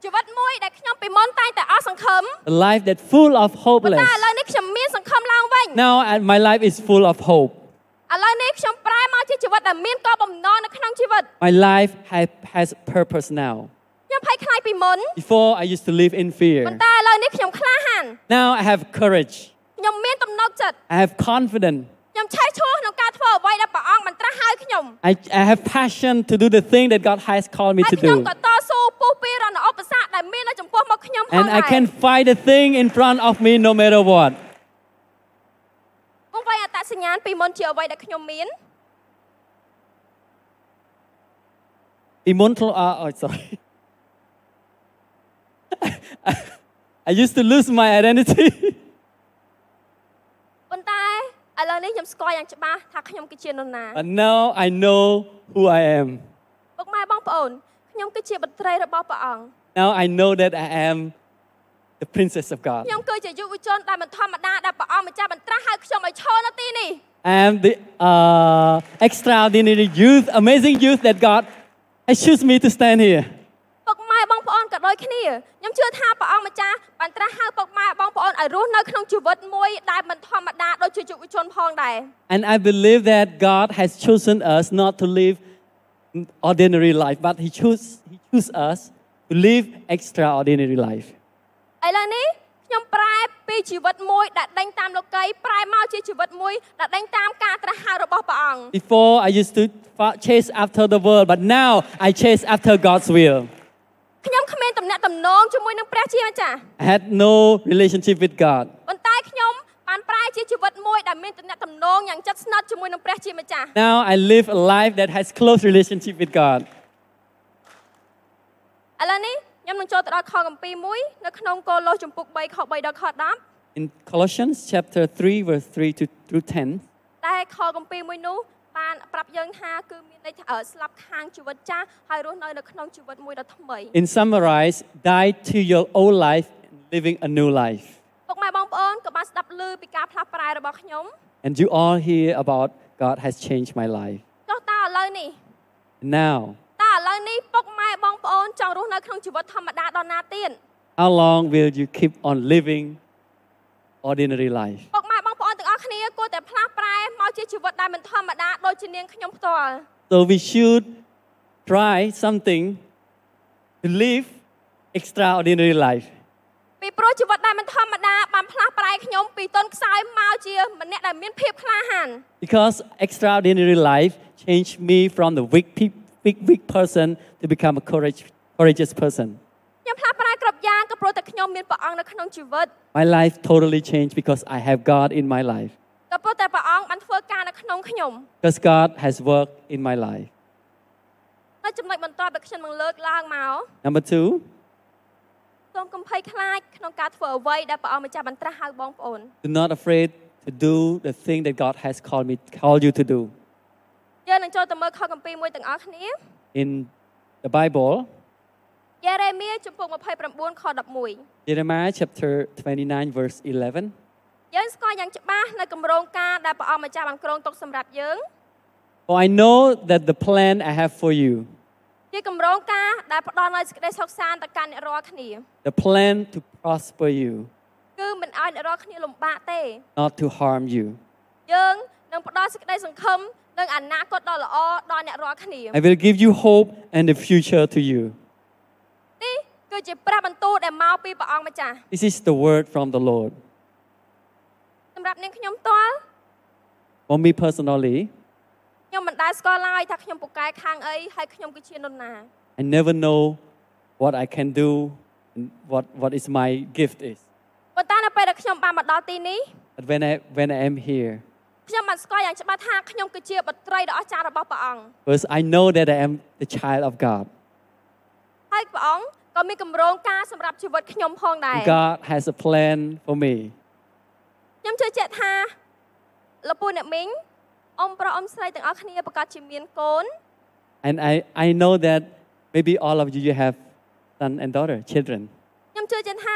D: ជីវិតមួយដែលខ្ញុំពីមុនតែងតែអស់សង្ឃឹម
C: The life that full of
D: ប៉ុន្តែ
C: hopeless.
D: ឥឡូវនេះខ្ញុំមានសង្ឃឹមឡើងវិញ
C: Now I- my life is full of hope.
D: ឥឡូវនេះខ្ញុំប្រែមកជាជីវិតដែលមានក៏បំណងនៅក្នុងជីវិត
C: My life ha- has purpose now.
D: ខ្ញុំភ័យខ្លាចពីមុន
C: Before I used to live in
D: ប៉ុ
C: fear.
D: ន្តែឥឡូវនេះខ្ញុំក្លាហាន
C: Now I have courage.
D: ខ្ញុំមានទំនុកចិត្ត
C: I have confidence.
D: ខ្ញុំឆេះឈ្មោះក្នុងការធ្វើអ្វីដែលព្រះអង្គបានត្រាស់ឲ្យខ្ញុំ
C: I, I have passion to do the thing that God has called me
D: ហើយ
C: to
D: ខ្ញុំ
C: do.
D: ក៏តស៊ូពុះពីរណឧបសគ្គដែលមាននៅចំពោះមកខ្ញុំផង
C: And
D: ដែ
C: I
D: រ
C: can fight the thing in front of me no matter what.
D: គង់វែងអត្តសញ្ញាណពីមុនជាអ្វីដែលខ្ញុំមាន
C: Immortal, uh, oh, sorry. I used to lose my identity.
D: ប៉ុន្តែឥឡូវនេះខ្ញុំស្គាល់យ៉ាងច្បាស់ថាខ្ញុំគឺជានរណា
C: but now I know who I am.
D: ពុកម៉ែបងប្អូនខ្ញុំគឺជាបត្រីរបស់ព្រះអង្គ
C: Now I know that I am the princess of God.
D: ខ្ញុំគឺជាយុវជនដែលមិនធម្មតាដែលព្រះអង្គម្ចាស់បានត្រាស់ហៅខ្ញុំឲ្យឈរនៅទីនេះ
C: I'm the uh, extraordinary youth, amazing youth that God has chosen me to stand here.
D: ពុកម៉ែបងប្អូនក៏ដូចគ្នាខ្ញុំជឿថាព្រះអង្គម្ចាស់បានត្រាស់ហៅពុកម៉ែបងប្អូនឲ្យរស់នៅក្នុងជីវិតមួយដែលមិនធម្មតាដូចជាយុវជនផងដែរ
C: And I believe that God has chosen us not to live ordinary life, but He chose He chose us to live extraordinary life.
D: ឥឡូវនេះខ្ញុំប្រែពីជីវិតមួយដែលដេញតាមលោកីប្រែមកជាជីវិតមួយដែលដេញតាមការត្រាស់ហៅរបស់ព្រះអង្គ
C: Before I used to fa- chase after the world, but now I chase after God's will.
D: ខ្ញុំគ្មានតំណែងតំណងជាមួយនឹងព្រះជាម្ចាស់
C: I had no relationship with God,
D: ប៉ុន្តែខ្ញុំបានប្រែជាជីវិតមួយដែលមានតំណែងតំណងយ៉ាងជិតស្និទ្ធជាមួយនឹងព្រះជាម្ចាស់
C: Now I live a life that has close relationship with God.
D: ឥឡូវនេះខ្ញុំនឹងចូលទៅដល់ខគម្ពីរមួយនៅក្នុងកូឡូសជំពូក3ខ3ដល់ខ10
C: In Colossians chapter 3 verse 3 to through 10,
D: តែខគម្ពីរមួយនោះបានប្រាប់យើងថាគឺមានន័យថាអឺស្លាប់ខាងជីវិតចាស់ហើយរស់នៅនៅក្នុងជីវិតមួយដ៏ថ្មី
C: in summarize, die to your old life and living a new life.
D: ពុកម៉ែបងប្អូនក៏បានស្ដាប់ឮពីការផ្លាស់ប្រែរបស់ខ្ញុំ
C: And you all hear about God has changed my life.
D: ចុះតើឥឡូវនេះ
C: Now,
D: តើឥឡូវនេះពុកម៉ែបងប្អូនចង់រស់នៅក្នុងជីវិតធម្មតាដល់ណាទៀត
C: how long will you keep on living ordinary life?
D: ពុកម៉ែបងប្អូនទាំងអស់គ្នាគួរតែផ្លាស់ប្រែមកជាជីវិតដែលមិនធម្មតាដូចជានាងខ្ញុំផ្ទាល់
C: So we should try something to live extraordinary life.
D: ពីព្រោះជីវិតដែលមិនធម្មតាបានផ្លាស់ប្រែខ្ញុំពីតនខ្សោយមកជាម្នាក់ដែលមានភាពក្លាហាន
C: Because extraordinary life changed me from the weak, pe- weak, weak person to become a courage, courageous person.
D: ខ្ញុំផ្លាស់ប្រែគ្រប់យ៉ាងក៏ព្រោះតែខ្ញុំមានព្រះអង្គនៅក្នុងជីវិត
C: My life totally changed because I have God in my life.
D: ក៏ព្រោះតែព្រះអង្គបានធ្វើការនៅក្នុងខ្ញុំ
C: Because God has worked in my life.
D: នៅចំណុចបន្តដែលខ្ញុំនឹងលើកឡើងមក
C: Number two,
D: សូមកុំភ័យខ្លាចក្នុងការធ្វើអ្វីដែលព្រះអង្គម្ចាស់បានត្រាស់ហៅបងប្អូន
C: do not afraid to do the thing that God has called me, called you to do.
D: យើងនឹងចូលទៅមើលខគម្ពីរមួយទាំងអស់គ្នា
C: In the Bible,
D: យេរេមៀជំពូក29ខ
C: Jeremiah chapter 29, verse 11.
D: 11យើងស្គាល់យ៉ាងច្បាស់នៅគម្រោងការដែលព្រះអង្គម្ចាស់បានគ្រោងទុកសម្រាប់យើង
C: For I know that the plan I have for you,
D: ជាគម្រោងការដែលផ្ដល់នូវសេចក្តីសុខសាន្តទៅកាន់អ្នករាល់គ្នា
C: the plan to prosper you,
D: គឺមិនឲ្យអ្នករាល់គ្នាលំបាកទេ
C: not to harm you.
D: យើងនឹងផ្ដល់សេចក្តីសង្ឃឹមនិងអនាគតដ៏ល្អដល់អ្នករាល់គ្នា
C: I will give you hope and the future to you.
D: នេះគឺជាព្រះបន្ទូលដែលមកពីព្រះអង្គម្ចាស់
C: This is the word from the Lord.
D: សម្រាប់នាងខ្ញុំផ្ទាល់
C: For me personally,
D: ខ្ញុំមិនដែលស្គាល់ឡើយថាខ្ញុំពូកែខាងអីហើយខ្ញុំគឺជានរណា
C: I never know what I can do and what, what is my gift is.
D: ប៉ុន្តែនៅពេលដែលខ្ញុំបានមកដល់ទីនេះ
C: But when I, when I am here,
D: ខ្ញុំបានស្គាល់យ៉ាងច្បាស់ថាខ្ញុំគឺជាបត្រីដ៏អស្ចារ្យរបស់ព្រះអង្គ
C: first I know that I am the child of God.
D: ហើយព្រះអង្គក៏មានគម្រោងការសម្រាប់ជីវិតខ្ញុំផងដែរ
C: And God has a plan for me.
D: ខ្ញុំជឿជាក់ថាលោកពូអ្នកមីងអ៊ំប្រុសអ៊ំស្រីទាំងអស់គ្នាប្រកាសជាមានកូន
C: And I, I know that maybe all of you, you have son and daughter, children.
D: ខ្ញុំជឿជាក់ថា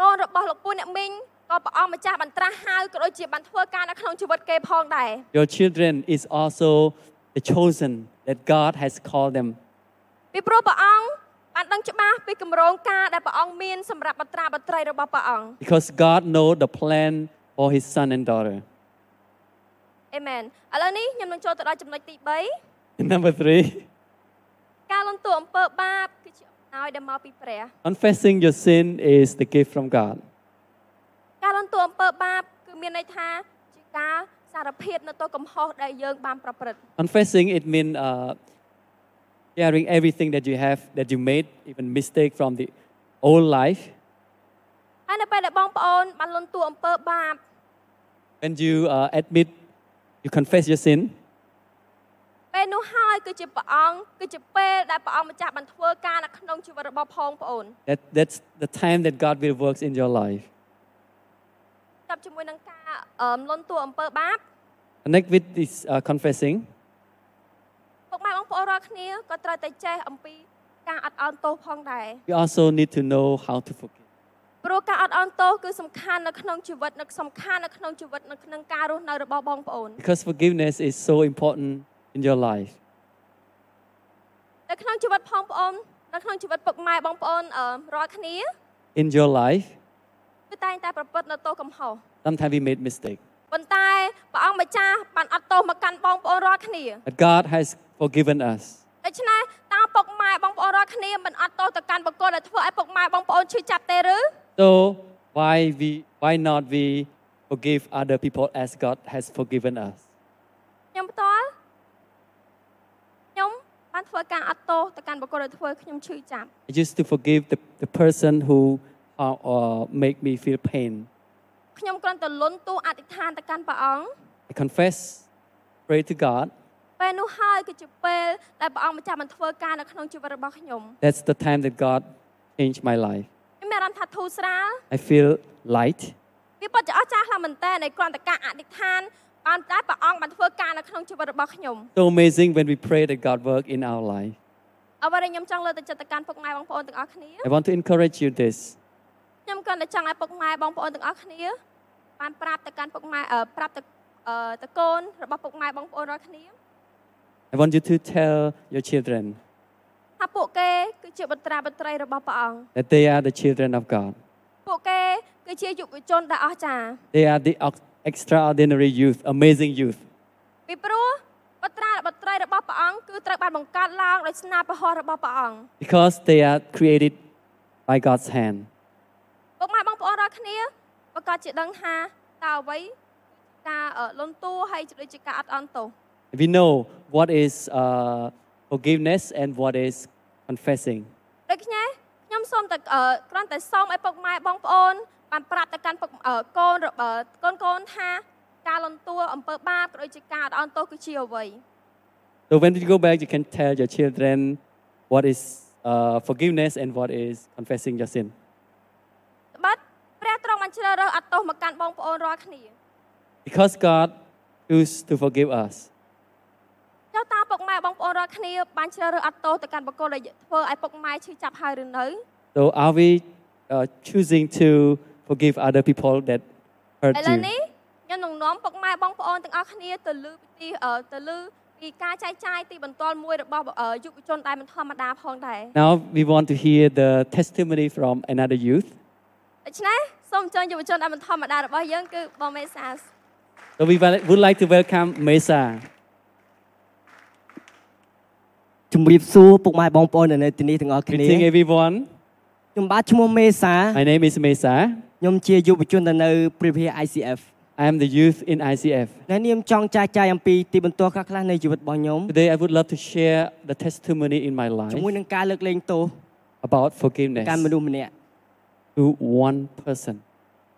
D: កូនរបស់លោកពូអ្នកមីងក៏ព្រះអង្គម្ចាស់បានត្រាស់ហៅក៏ដូចជាបានធ្វើការនៅក្នុងជីវិតគេផងដែរ
C: Your children is also the chosen that God has called them.
D: ពីព្រោះព្រះអង្គបានដឹងច្បាស់ពីគម្រោងការដែលព្រះអង្គមានសម្រាប់បត្រាបត្រីរបស់ព្រះអង្គ
C: Because God knows the plan for his son and daughter.
D: អេមែនឥឡូវនេះខ្ញុំនឹងចូលទៅដល់ចំណុចទី3
C: Number three,
D: ការលន់តួអំពើបាបគឺជាអំណោយដែលមកពីព្រះ
C: confessing your sin is the gift from God.
D: ការលន់តួអំពើបាបគឺមានន័យថាជាការសារភាពនៅទោសកំហុសដែលយើងបានប្រព្រឹត្ត
C: Confessing, it means uh, sharing everything that you have, that you made, even mistake from the old life.
D: ហើយនៅពេលដែលបងប្អូនបានលន់តួអំពើបាប
C: When you uh, admit, you confess your sin,
D: ពេលនោះហើយគឺជាព្រះអង្គគឺជាពេលដែលព្រះអង្គម្ចាស់បានធ្វើការនៅក្នុងជីវិតរបស់ផងប្អូន
C: that, that's the time that God will work in your life.
D: ចាប់ជាមួយនឹងការអឺលន់តួអំពើបាប
C: Connect with this uh, confessing.
D: ពុកម៉ែបងប្អូនរាល់គ្នាក៏ត្រូវតែចេះអំពីការអត់អន់ទោសផងដែរ
C: We also need to know how to forgive.
D: ព្រោះការអត់អន់ទោសគឺសំខាន់នៅក្នុងជីវិតនៅសំខាន់នៅក្នុងជីវិតនៅក្នុងការរស់នៅរបស់បងប្អូន
C: Because forgiveness is so important in your life.
D: នៅក្នុងជីវិតផងប្អូននៅក្នុងជីវិតពុកម៉ែបងប្អូនអឺរាល់គ្នា
C: In your life,
D: គឺតែងតែប្រព្រឹត្តនៅទោសកំហុស
C: sometimes we made mistakes.
D: ប៉ុន្តែព្រះអង្គម្ចាស់បានអត់ទោសមកកាន់បងប្អូនរាល់គ្នា
C: But God has forgiven us.
D: ដូច្នេះតើពុកម៉ែបងប្អូនរាល់គ្នាមិនអត់ទោសទៅកាន់បុគ្គលដែលធ្វើឲ្យពុកម៉ែបងប្អូនឈឺចាប់ទេឬ
C: So why we why not we forgive other people as God has forgiven us?
D: ខ្ញុំផ្ទាល់ខ្ញុំបានធ្វើការអត់ទោសទៅកាន់បុគ្គលដែលធ្វើខ្ញុំឈឺចាប់
C: I used to forgive the, the person who uh, uh, make me feel pain.
D: ខ្ញុំគ្រាន់តែលន់ទូអធិដ្ឋានទៅកាន់ព្រះអង្គ
C: I confess, pray to God.
D: ពេលនោះហើយគឺជាពេលដែលព្រះអង្គម្ចាស់បានធ្វើការនៅក្នុងជីវិតរបស់ខ្ញុំ
C: That's the time that God changed my life.
D: ខ្ញុំមានអារម្មណ៍ថាធូរស្រាល
C: I feel light.
D: វាពិតជាអស្ចារ្យខ្លាំងមែនតើគ្រាន់តែការអធិដ្ឋានបានតែព្រះអង្គបានធ្វើការនៅក្នុងជីវិតរបស់ខ្ញុំ
C: So amazing when we pray that God work in our life.
D: អ្វីដែលខ្ញុំចង់លើកទៅចិត្តទៅកាន់ពុកម៉ែបងប្អូនទាំងអស់គ្នា
C: I want to encourage you this.
D: ខ្ញុំគ្រាន់តែចង់ឲ្យពុកម៉ែបងប្អូនទាំងអស់គ្នាបានប្រាប់ទៅកាន់ពុកម៉ែអឺប្រាប់ទៅអឺតកូនរបស់ពុកម៉ែបងប្អូនរាល់គ្នា
C: I want you to tell your children
D: ថាពួកគេគឺជាបត្រាបត្រីរបស់ព្រះអង្គ
C: that they are the children of God.
D: ពួកគេគឺជាយុវជនដែលអស្ចារ្យ
C: They are the ex- extraordinary youth, amazing youth.
D: ពីព្រោះបត្រាបត្រីរបស់ព្រះអង្គគឺត្រូវបានបង្កើតឡើងដោយស្នាព្រះហស្ថរបស់ព្រះអង្គ
C: because they are created by God's hand.
D: ពុកម៉ែបងប្អូនរាល់គ្នាប្រកាសជាដឹងថាតើអ្វីការអឺលន់តួហើយជាដូចជាការអត់អន់ទោស
C: We know what is uh, forgiveness and what is confessing.
D: ដូច្នេះខ្ញុំសូមតែអឺគ្រាន់តែសូមឲ្យពុកម៉ែបងប្អូនបានប្រាប់ទៅកាន់ពុកអឺកូនរបស់អឺកូនកូនថាការលន់តួអំពើបាបក៏ដូចជាការអត់អន់ទោសគឺជាអ្វី
C: So when you go back, you can tell your children what is uh, forgiveness and what is confessing your sin.
D: ត្បិតព្រះទ្រង់បានជ្រើសរើសអត់ទោសមកកាន់បងប្អូនរាល់គ្នា
C: Because God chooses to forgive us.
D: ចុះតើពុកម៉ែបងប្អូនរាល់គ្នាបានជ្រើសរើសអត់ទោសទៅកាន់បុគ្គលដែលធ្វើឲ្យពុកម៉ែឈឺចាប់ហើយឬនៅ
C: So are we uh, choosing to forgive other people that hurt
D: ឥឡូវ
C: you?
D: នេះខ្ញុំនឹងនាំពុកម៉ែបងប្អូនទាំងអស់គ្នាទៅលើពិធីអឺទៅលើពីការចែកចាយទីបន្ទាល់មួយរបស់អឺយុវជនដែលមិនធម្មតាផងដែរ
C: Now we want to hear the testimony from another youth.
D: ដូច្នេះសូមអញ្ជើញយុវជនដែលមិនធម្មតារបស់យើងគឺបងមេសាស
C: So we wel- would like to welcome Mesa.
E: ជំរាបសួរពុកម៉ែបងប្អូននៅនៅទីនេះទាំងអស់គ្នា
C: Greeting everyone.
E: ខ្ញុំបាទឈ្មោះមេសា
C: My name is Mesa.
E: ខ្ញុំជាយុវជននៅនៅព្រះវិហារ ICF
C: I am the youth in ICF.
E: នៅនាមចង់ចែកចាយអំពីទីបន្ទាល់ខ្លះៗនៃជីវិតរបស់ខ្ញុំ
C: Today, I would love to share the testimony in my
E: ជាមួយ
C: life
E: នឹងការលើកលែងទោស
C: about
E: កាន់មនុ
C: forgiveness
E: ស្សម្នាក់
C: to one person.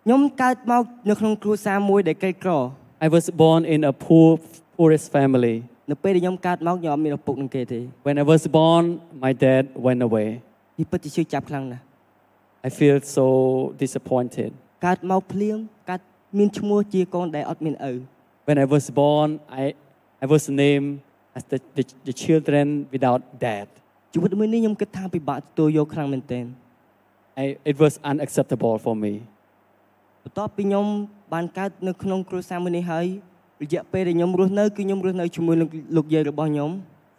E: ខ្ញុំកើតមកនៅក្នុងគ្រួសារមួយដែលក្រីក្រ
C: I was born in a poor, poorest family.
E: នៅពេលដែលខ្ញុំកើតមកខ្ញុំអត់មានឪពុកនឹងគេទេ
C: When I was born, my dad went away.
E: នេះពិតជាឈឺចាប់ខ្លាំងណាស់
C: I feel so disappointed.
E: កើតមកភ្លាមកើតមានឈ្មោះជាកូនដែលអត់មានឪ
C: When I was born, I, I was named as the, the, the children without dad.
E: ជីវិតមួយនេះខ្ញុំគិតថាពិបាកទទួលយកខ្លាំងមែនទែន
C: I, it was unacceptable for me.
E: បន្ទាប់ពីខ្ញុំបានកើតនៅក្នុងគ្រួសារមួយនេះហើយរយៈពេលដែលខ្ញុំរស់នៅគឺខ្ញុំរស់នៅជាមួយនឹងលោកយាយរបស់ខ្ញុំ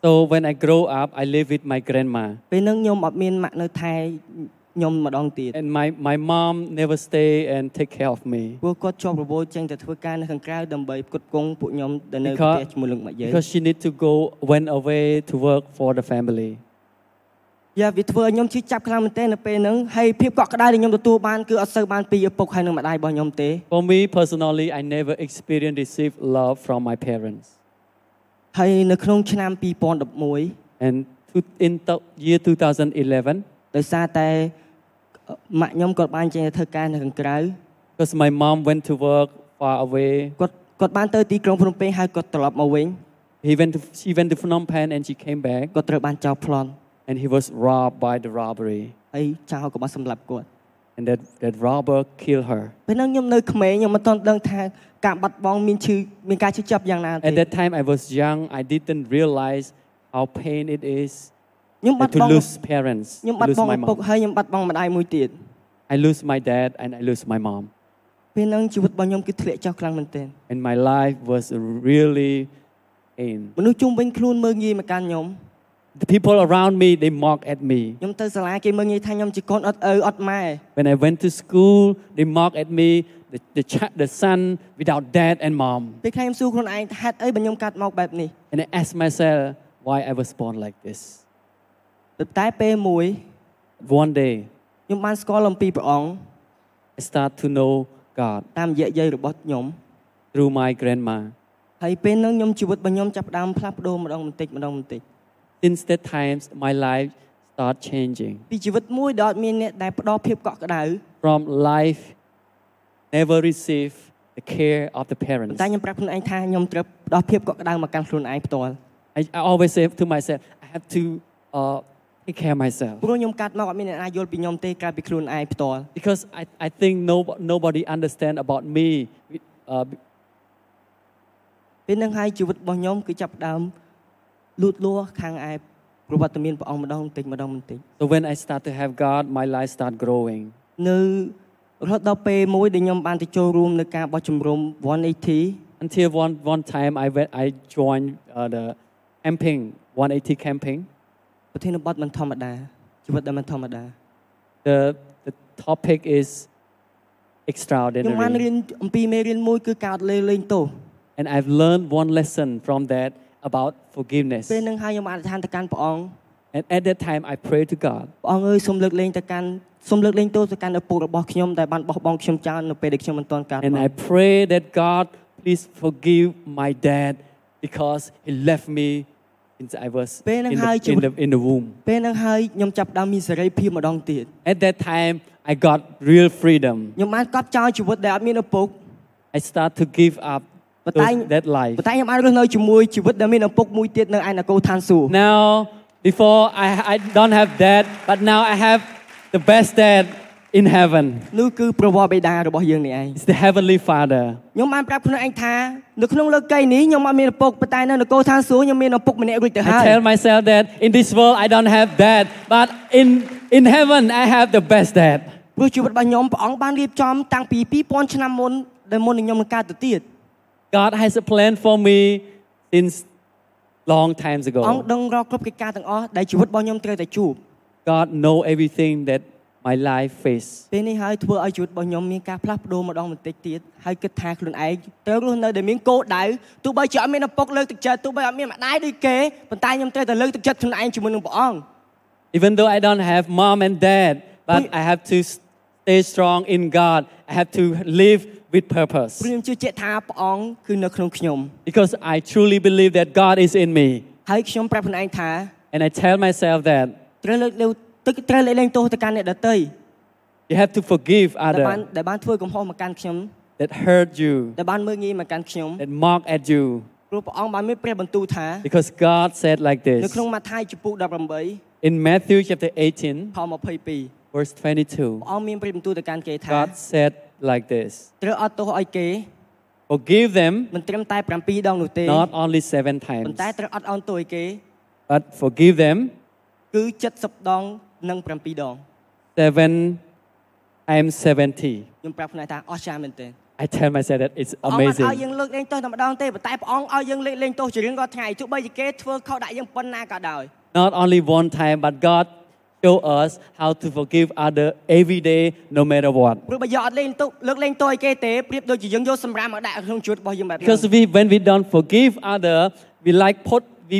C: So when I grow up, I live with my grandma.
E: ពេលហ្នឹងខ្ញុំអត់មានម៉ាក់នៅថែខ្ញុំម្ដងទៀត
C: And my, my mom never stay and take care of me.
E: ព្រោះគាត់ជាប់រវល់ចេញទៅធ្វើការនៅខាងក្រៅដើម្បីផ្គត់ផ្គង់ពួកខ្ញុំដែលនៅផ្
C: Because-
E: ទះជាមួយនឹងម៉ាក់យាយ
C: because she need to go went away to work for the family
E: យ៉ាវាធ្វើឲ្យខ្ញុំឈឺចាប់ខ្លាំងមែនទែននៅពេលហ្នឹងហើយភាពកក់ក្ដៅដែលខ្ញុំទទួលបានគឺអត់សូវបានពីឪពុកហើយនិងម្ដាយរបស់ខ្ញុំទេ
C: for me personally i never experienced received love from my parents
E: ហើយនៅក្នុងឆ្នាំ2011
C: and to, in the year 2011
E: ដោយសារតែម៉ាក់ខ្ញុំគាត់បានចេញទៅធ្វើការនៅខាងក្រៅ
C: because my mom went to work far away
E: គាត់គាត់បានទៅទីក្រុងភ្នំពេញហើយគាត់ត្រឡប់មកវិញ
C: he went to, she went to phnom penh and she came back
E: គាត់ត្រូវបានចោទប្លន់
C: and he was robbed by the robbery
E: ហើយចោលក៏បានសម្លាប់គាត់
C: and that, that robber killed her
E: ពេលហ្នឹងខ្ញុំនៅក្មេងខ្ញុំមិនទាន់ដឹងថាការបាត់បង់មានឈឺមានការឈឺចាប់យ៉ាងណា
C: at
E: ទេ
C: that time i was young i didn't realize how pain it is
E: ខ្ញុំបាត់ប
C: to
E: ង់
C: lose parents
E: ខ្ញុំ
C: to
E: បាត់
C: lose
E: បង់
C: my
E: ឪពុក
C: mom
E: ហើយខ្ញុំបាត់បង់ម្ដាយមួយទៀត
C: I lose my dad and I lose my mom.
E: ពេលហ្នឹងជីវិតរបស់ខ្ញុំគឺធ្លាក់ចុះខ្លាំងមែនទែន
C: And my life was really in.
E: មនុស្សជុំវិញខ្លួនមើលងាយមកកាន់ខ្ញុំ
C: The people around me, they mock at me.
E: ខ្ញុំទៅសាលាគេមើលងាយថាខ្ញុំជាកូនអត់ឪអត់ម៉ែ
C: When I went to school, they mock at me, the, the, cha- the son without dad and mom.
E: ពេលខ្លះខ្ញុំសួរខ្លួនឯងថាហេតុអីបានខ្ញុំកាត់មកបែបនេះ
C: And I asked myself why I was born like this.
E: ប៉ុន្តែពេលមួយ
C: One day,
E: ខ្ញុំបានស្គាល់អំពីព្រះអង្គ
C: I start to know God
E: តាមរយៈយាយរបស់ខ្ញុំ
C: through my grandma.
E: ហើយពេលហ្នឹងខ្ញុំជីវិតរបស់ខ្ញុំចាប់ផ្ដើមផ្លាស់ប្ដូរម្ដងបន្តិចម្ដងបន្តិច
C: Since that time, my life started changing
E: ពីជីវិតមួយដែលអត់មានអ្នកដែលផ្ដល់ភាពកក់ក្ដៅ
C: from life never received the care of the
E: ប៉ុ
C: parents.
E: ន្តែខ្ញុំប្រាប់ខ្លួនឯងថាខ្ញុំត្រូវផ្ដល់ភាពកក់ក្ដៅមកកាន់ខ្លួនឯងផ្ទាល់
C: I, I always say to myself, I have to uh, take care of myself
E: ព្រោះខ្ញុំកាត់មកអត់មានអ្នកណាយល់ពីខ្ញុំទេក្រៅពីខ្លួនឯងផ្ទាល់
C: because I, I think no, nobody understand about me. Uh,
E: ពេលហ្នឹងហើយជីវិតរបស់ខ្ញុំគឺចាប់ផ្ដើមលូតលាស់ខាងឯប្រវត្តិមានព្រះអង្គម្ដងបន្តិចម្ដងបន្តិច
C: so when I start to have God, my life start growing.
E: នៅរហូតដល់ពេលមួយដែលខ្ញុំបានទៅចូលរួមនៅការបោះជំរំ180
C: Until one, one time I, went, I joined uh, the camping, 180 camping.
E: ប្រធានបទមិនធម្មតាជីវិតដែលមិនធម្មតា
C: The, the topic is
E: ខ្ញុំបាន
C: extraordinary.
E: រៀនអំពីមេរៀនមួយគឺការអត់លើលែងទោស
C: And I've learned one lesson from that about forgiveness.
E: ពេលហ្នឹងហើយខ្ញុំអធិដ្ឋានទៅកាន់ព្រះអង្គ
C: And at that time, I prayed to God.
E: ព្រះអង្គអើយសូមលើកលែងទៅកាន់សូមលើកលែងទោសទៅកាន់ឪពុករបស់ខ្ញុំដែលបានបោះបង់ខ្ញុំចោលនៅពេលដែលខ្ញុំមិនទាន់កាត់
C: And
E: មក
C: I pray that God, please forgive my dad because he left me since I was in the, in the, in the womb.
E: ពេលហ្នឹងហើយខ្ញុំចាប់ផ្ដើមមានសេរីភាពម្ដងទៀត
C: At that time, I got real freedom.
E: ខ្ញុំបានកត់ចោលជីវិតដែលអត់មានឪពុក
C: I start to give up
E: But
C: those-
E: I-
C: that life.
E: ប៉ុន្តែខ្ញុំអាចរស់នៅជាមួយជីវិតដែលមានឪពុកមួយទៀតនៅឯនគរឋានសួគ៌
C: Now, before I, I don't have dad, but now I have the best dad in heaven.
E: នោះគឺប្រវត្តិបិតារបស់យើងនេះឯង
C: It's the Heavenly Father.
E: ខ្ញុំបានប្រាប់ខ្លួនឯងថានៅក្នុងលោកកីយ៍នេះខ្ញុំអត់មានឪពុកប៉ុន្តែនៅនគរឋានសួគ៌ខ្ញុំមានឪពុកម្នាក់រួចទៅហើ
C: I
E: យ
C: tell myself that in this world I don't have dad, but in, in heaven I have the best dad.
E: ព្រោះជីវិតរបស់ខ្ញុំព្រះអង្គបានរៀបចំតាំងពី2000ឆ្នាំមុនដែលមុននឹងខ្ញុំនឹងកើតទៅទៀត
C: God has a plan for me since long times
E: អង្គ
C: ago.
E: ដឹងរកគ្រប់កិច្ចការទាំងអស់ដែលជីវិតរបស់ខ្ញុំត្រូវតែជួប
C: God know everything that my life face.
E: ពេលនេះហើយធ្វើឲ្យជីវិតរបស់ខ្ញុំមានការផ្លាស់ប្ដូរម្ដងបន្តិចទៀតហើយគិតថាខ្លួនឯងត្រូវរស់នៅដែលមានគោលដៅទោះបីជាអត់មានឪពុកលើកទឹកចិត្តទោះបីអត់មានម្ដាយដូចគេប៉ុន្តែខ្ញុំត្រូវតែលើកទឹកចិត្តខ្លួនឯងជាមួយនឹងព្រះអង្គ
C: Even though I don't have mom and dad, but I have to s- stay strong in God. I have to live with purpose
E: ព្រោះខ្ញុំជឿជាក់ថាព្រះអង្គគឺនៅក្នុងខ្ញុំ
C: because I truly believe that God is in me.
E: ហើយខ្ញុំប្រាប់ខ្លួនឯងថា
C: And I tell myself that
E: ត្រូវលើកលើទឹកត្រូវលើកលែងទោសទៅកាន់អ្នកដទៃ
C: you have to forgive
E: ដែលបាន
C: others
E: ដែលបានធ្វើកំហុសមកកាន់ខ្ញុំ
C: that hurt you,
E: ដែលបានមើលងាយមកកាន់ខ្ញុំ
C: that mock at you.
E: ព្រោះព្រះអង្គបានមានព្រះបន្ទូលថា
C: Because God said like
E: នៅ
C: this
E: ក្នុងម៉ាថាយជំពូក18
C: in Matthew chapter 18,
E: ខ22ព្រះ
C: verse 22.
E: អង្គមានព្រះបន្ទូលទៅកាន់គេថា
C: God said like this
E: ត្រូវអត់ទោសឲ្យគេ
C: Forgive them
E: មិនត្រឹមតែ7ដងនោះទេ
C: not only seven
E: ប៉ុ
C: times,
E: ន្តែត្រូវអត់អន់ទោសឲ្យគេ
C: but forgive them
E: គឺ70ដងនិង7ដង
C: seven times 70.
E: ខ្ញុំប្រាប់ខ្លួនឯងថាអស្ចារ្យមែនទែន
C: I tell myself that it's
E: ព្រះអង្គមិនឲ្យយើ
C: amazing.
E: ងលើកលែងទោសតែម្ដងទេប៉ុន្តែព្រះអង្គឲ្យយើងលើកលែងទោសជារៀងរាល់ថ្ងៃទោះបីជាគេធ្វើខុសដាក់យើងប៉ុណ្ណាក៏ដោយ
C: Not only one time, but God show us how to forgive other every day, no matter what.
E: ព្រោះបើយើងអត់លែងទោសលើកលែងទោសឲ្យគេទេប្រៀបដូចជាយើងយកសម្រាមមកដាក់ក្នុងជីវិតរបស់យើងបែបហ្នឹង
C: Because we, when we don't forgive other, we like put, we,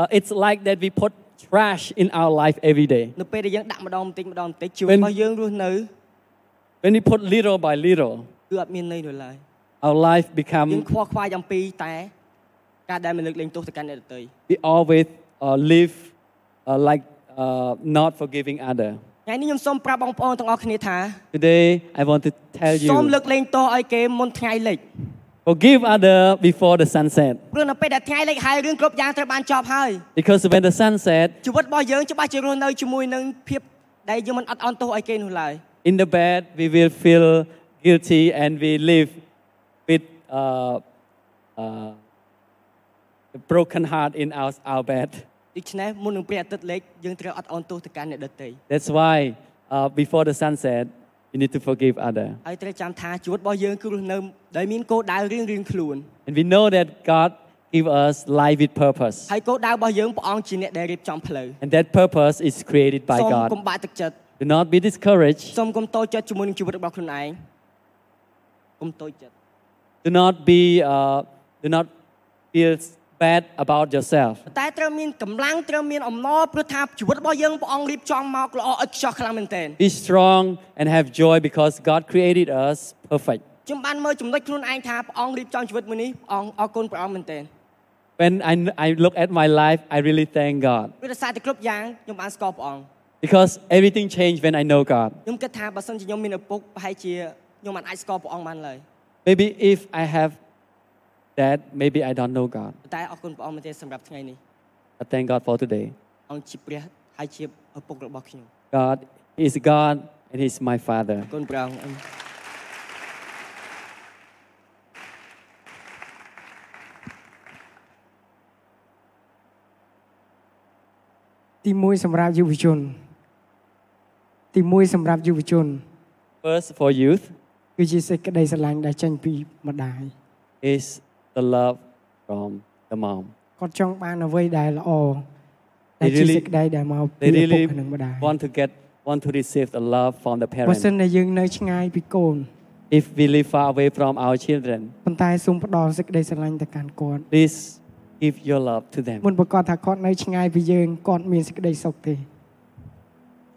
C: uh, it's like that we put trash in our life every day.
E: នៅពេលដែលយើងដាក់ម្ដងបន្តិចម្ដងបន្តិចជីវិតរបស់យើងរស់នៅ
C: When we put little by little,
E: គឺអត់មានន័យនោះឡើយ
C: our life
E: យើង
C: become,
E: ខ្វល់ខ្វាយអំពីតែការដែលមិនលើកលែងទោសទៅកាន់អ្នកដទៃ
C: we always uh, live uh, like uh, not forgiving other.
E: ថ្ងៃនេះខ្ញុំសូមប្រាប់បងប្អូនទាំងអស់គ្នាថា
C: Today, I want to tell
E: សូមលើ
C: you
E: កលែងទោសឲ្យគេមុនថ្ងៃលិច
C: forgive other before the sunset.
E: ព្រោះនៅពេលដែលថ្ងៃលិចហើយរឿងគ្រប់យ៉ាងត្រូវបានចប់ហើយ
C: Because when the sunset
E: ជីវិតរបស់យើងច្បាស់ជារស់នៅជាមួយនឹងភាពដែលយើងមិនអត់អន់ទោសឲ្យគេនោះឡើយ
C: in the bed, we will feel guilty and we live with uh, uh, the broken heart in our, our bed.
E: ដូច្នេះមុននឹងព្រះអាទិត្យលិចយើងត្រូវអត់អន់ទោសទៅកាន់អ្នកដទៃ
C: That's why uh, before the sunset, We need to forgive other.
E: ហើយត្រូវចាំថាជីវិតរបស់យើងគឺរស់នៅដោយមានគោលដៅរៀងរៀងខ្លួន
C: And we know that God give us life with purpose.
E: ហើយគោលដៅរបស់យើងព្រះអង្គជាអ្នកដែលរៀបចំផ្លូវ
C: And that purpose is created by
E: សូមកុំ
C: God.
E: បាក់ទឹកចិត្ត
C: Do not be discouraged.
E: សូមកុំតូចចិត្តជាមួយនឹងជីវិតរបស់ខ្លួនឯងកុំតូចចិត្ត
C: Do not be uh, do not feel bad about yourself.
E: ប៉ុន្តែត្រូវមានកម្លាំងត្រូវមានអំណរព្រោះថាជីវិតរបស់យើងព្រះអង្គរៀបចំមកល្អឥតខ្ចោះខ្លាំងមែនទែន
C: Be strong and have joy because God created us perfect.
E: ខ្ញុំបានមើលចំណុចខ្លួនឯងថាព្រះអង្គរៀបចំជីវិតមួយនេះព្រះអង្គអរគុណព្រះអង្គមែនទែន
C: When I, I look at my life, I really thank God
E: ព្រោះដោយសារតែគ្រប់យ៉ាងខ្ញុំបានស្គាល់ព្រះអង្គ
C: because everything changed when I know God.
E: ខ្ញុំគិតថាបើសិនជាខ្ញុំមានឪពុកប្រហែលជាខ្ញុំមិនអាចស្គាល់ព្រះអង្គបានឡើយ
C: Maybe if I have that, maybe I don't know God.
E: ប៉ុន្តែអរគុណព្រះអង្គមែនទែនសម្រាប់ថ្ងៃនេះ
C: But thank God for today.
E: អង្គជាព្រះហើយជាឪពុករបស់ខ្ញុំ
C: God is God and He's my Father.
E: អរគុណព្រះអង្គអឺម
B: ទី1សម្រាប់យុវជន ទី1សម្រាប់យុវជន
C: First, for youth,
B: គឺជាសេចក្តីស្រឡាញ់ដែលចេញពីម្ដាយ
C: is the love from the mom.
B: គាត់ចង់បានអ្វីដែលល្អ
C: They
B: ដែលជា
C: really-
B: សេចក្តីដែលមក
C: They
B: ពីឪពុក
C: really
B: និងម្ដាយ
C: want to get, want to receive the love from the
B: បើ
C: parents.
B: សិនតែយើងនៅឆ្ងាយពីកូន
C: If we live far away from our children,
B: ប៉ុន្តែសូមផ្ដល់សេចក្តីស្រឡាញ់ទៅកាន់គាត់
C: please give your love to them.
B: មុនប្រកាសថាគាត់នៅឆ្ងាយពីយើងគាត់មានសេចក្តីសុខទេ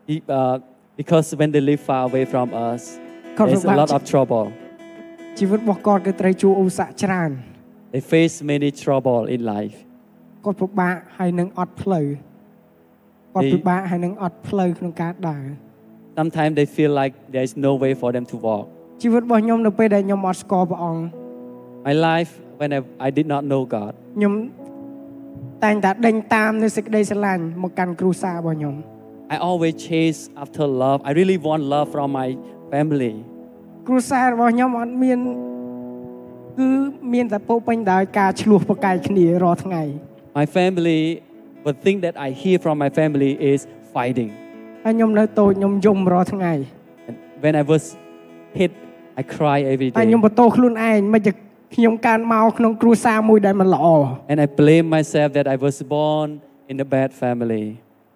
C: Be- uh, because when they live far away from us,
B: Con
C: there's a
B: phải
C: lot
B: bạn
C: of trouble.
B: ជីវិតរបស់គាត់គឺត្រូវជួបឧបសគ្គច្រើន
C: They face many trouble in life.
B: គាត់ពិបាកហើយនឹងអត់ផ្លូវគាត់
C: They-
B: ពិបាកហើយនឹងអត់ផ្លូវក្នុងការដើរ
C: Sometimes they feel like there's no way for them to walk.
B: ជីវិតរបស់ខ្ញុំនៅពេលដែលខ្ញុំអត់ស្គាល់ព្រះអង្គ
C: My life, when I, I did not know God,
B: ខ្ញុំតែងតែដេញតាមនៅសេចក្តីស្រឡាញ់មកកាន់គ្រួសាររបស់ខ្ញុំ
C: I always chase after love. I really want love from my family.
B: គ្រួសាររបស់ខ្ញុំអត់មានគឺមានតែពោរពេញដោយការឆ្លោះប្រកែកគ្នារាល់ថ្ងៃ
C: My family, the thing that I hear from my family is fighting.
B: ហើយខ្ញុំនៅតូចខ្ញុំយំរាល់ថ្ងៃ
C: And when I was hit, I cry every
B: ហើយ
C: day.
B: ខ្ញុំបន្តខ្លួនឯងមិនតែខ្ញុំកានមកក្នុងគ្រួសារមួយដែលមិនល្អ
C: And I blame myself that I was born in a bad family.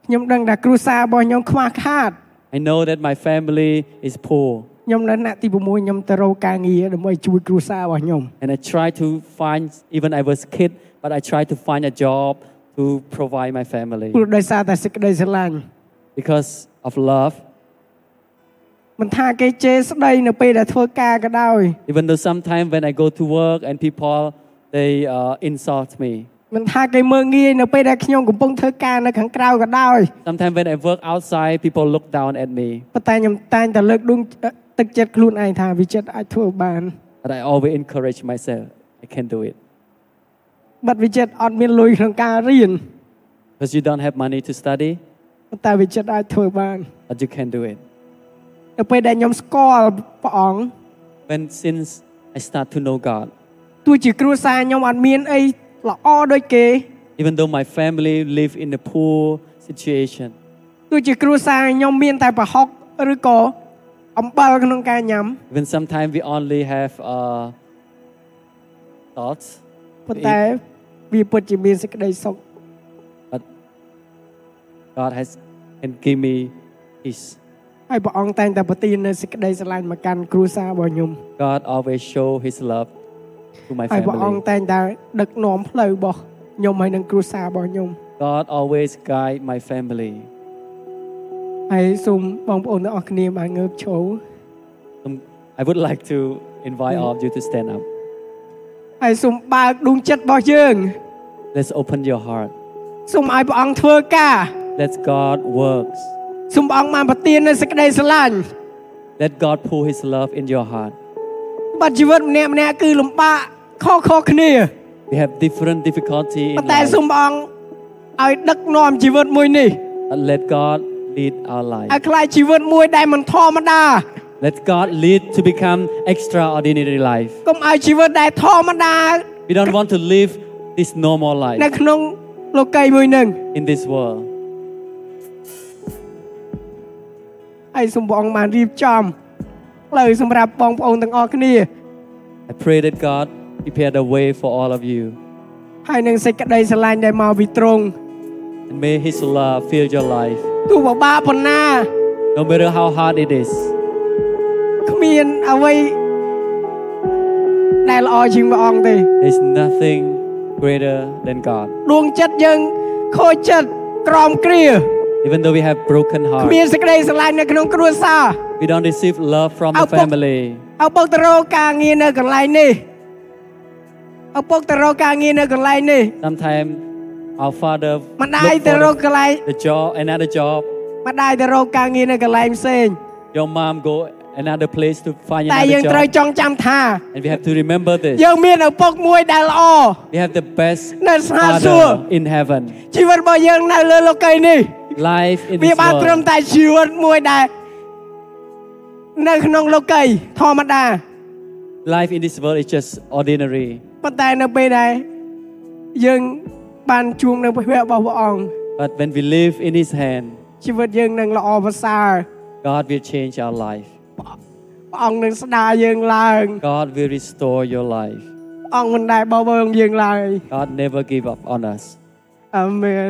B: ខ្ញុំដឹងថាគ្រួសាររបស់ខ្ញុំខ្វះខាត
C: I know that my family is poor.
B: ខ្ញុំនៅថ្នាក់ទី6ខ្ញុំទៅរកការងារដើម្បីជួយគ្រួសាររបស់ខ្ញុំ
C: And I try to find, even I was kid, but I try to find a job to provide my family.
B: ព្រោះដោយសារតែសេចក្តីស្រឡាញ់
C: Because of love,
B: មិនថាគេជេរស្ដីនៅពេលដែលធ្វើការក៏ដោយ
C: even though sometimes when I go to work and people, they uh, insult me.
B: មិនថាគេមើងងាយនៅពេលដែលខ្ញុំកំពុងធ្វើការនៅខាងក្រៅក៏ដោយ
C: Sometimes when I work outside, people look down at me.
B: ប៉ុន្តែខ្ញុំតែងតែលើកដួងទឹកចិត្តខ្លួនឯងថាវិចិត្រអាចធ្វើបាន
C: But I always encourage myself, I can do it.
B: បាត់វិចិត្រអត់មានលុយក្នុងការរៀន
C: Because you don't have money to study,
B: ប៉ុន្តែវិចិត្រអាចធ្វើបាន
C: but you can do it.
B: នៅពេលដែលខ្ញុំស្គាល់ព្រះអង្គ
C: When since I start to know God,
B: ទោះជាគ្រួសារខ្ញុំអត់មានអីល្អដូចគេ
C: even though my family live in a poor situation,
B: ទោះជាគ្រួសារខ្ញុំមានតែប្រហុកឬក៏អំបិលក្នុងការញ៉ាំ
C: even sometimes we only have uh, thoughts,
B: ប៉ុន្តែវាពិតជាមានសេចក្តីសុខ
C: but God has can give me peace.
B: ហើយព្រះអង្គតែងតែប្រទាននូវសេចក្តីស្រឡាញ់មកកាន់គ្រួសាររបស់ខ្ញុំ
C: God always show His love to my
B: ហើយព្រះអង្គ
C: family.
B: តែងតែដឹកនាំផ្លូវរបស់ខ្ញុំហើយនឹងគ្រួសាររបស់ខ្ញុំ
C: God always guide my family.
B: ហើយសូមបងប្អូនទាំងអស់គ្នាបានងើបឈរ
C: Um, I would like to invite all of you to stand up.
B: ហើយសូមបើកដួងចិត្តរបស់យើង
C: Let's open your heart.
B: សូមឲ្យព្រះអង្គធ្វើការ
C: Let God works.
B: សូមព្រះអង្គបានប្រទាននូវសេចក្តីស្រឡាញ់
C: Let God pour His love in your heart.
B: បាត់ជីវិតម្នាក់ម្នាក់គឺលំបាកខុសៗគ្នា
C: We have different difficulty
B: ប៉ុ
C: in
B: ន្តែ
C: life,
B: សូមព្រះអង្គឲ្យដឹកនាំជីវិតមួយនេះ
C: but let God lead our
B: ឲ្យ
C: life.
B: ខ្លាយជីវិតមួយដែលមិនធម្មតា
C: Let God lead to become extraordinary life.
B: កុំឲ្យជីវិតដែលធម្មតា
C: We don't want to live this normal
B: នៅ
C: life
B: ក្នុងលោកីយមួយនឹង
C: in this world.
B: ហើយសូមព្រះអង្គបានរៀបចំ ផ្លូវសម្រាប់បងប្អូនទាំងអស់គ្នា
C: I pray that God prepared a way for all of you
B: ហើយនឹងសេចក្តីស្រឡាញ់ដែលមកពីទ្រង់
C: and may His love fill your life.
B: ទោះបបាប៉ុណ្ណា
C: No matter how hard it is,
B: គ្មានអ្វីដែលល្អជាងព្រះអង្គទេ
C: there's nothing greater than God.
B: ដួងចិត្តយើងខូចចិត្តក្រមគ្រា
C: Even though we have broken
B: គ្
C: heart,
B: មានសេចក្តីស្រឡាញ់នៅក្នុងគ្រួសារ
C: we don't receive love from
B: Ao
C: the
B: pok-
C: family.
B: ឪពុកទៅរកការងារនៅកន្លែងនេះឪពុកទៅរកការងារនៅកន្លែងនេះ
C: Sometimes our father
B: ម្ដាយ
C: look
B: ទៅរក
C: for
B: កន្លែង
C: the, the job, another job.
B: ម្ដាយទៅរកការងារនៅកន្លែងផ្សេង
C: Your mom go another place to find
B: តែយើង
C: another
B: ត្រូវ
C: job.
B: ចងចាំថា
C: And we have to remember this.
B: យើងមានឪពុកមួយដែលល្អ
C: We have the best
B: Nên xa
C: father
B: xưa.
C: in heaven.
B: ជីវិតរបស់យើងនៅលើលោកីយ៍នេះ
C: Life in
B: វា
C: this
B: បានត្រឹម
C: world
B: តែជីវិតមួយដែលនៅក្នុងលោកីយ៍ធម្មតា
C: life in this world is just ordinary.
B: ប៉ុន្តែនៅពេលដែលយើងបានជួបនៅព្រះវេទរបស់ព្រះអង្គ
C: But when we live in His hand,
B: ជីវិតយើងនឹងល្អប្រសើរ
C: God will change our life.
B: ព្រះអង្គនឹងស្ដារយើងឡើង
C: God will restore your life.
B: ព្រះអង្គមិនដែលបោះបង់យើងឡើយ
C: God never give up on us.
B: អាមែន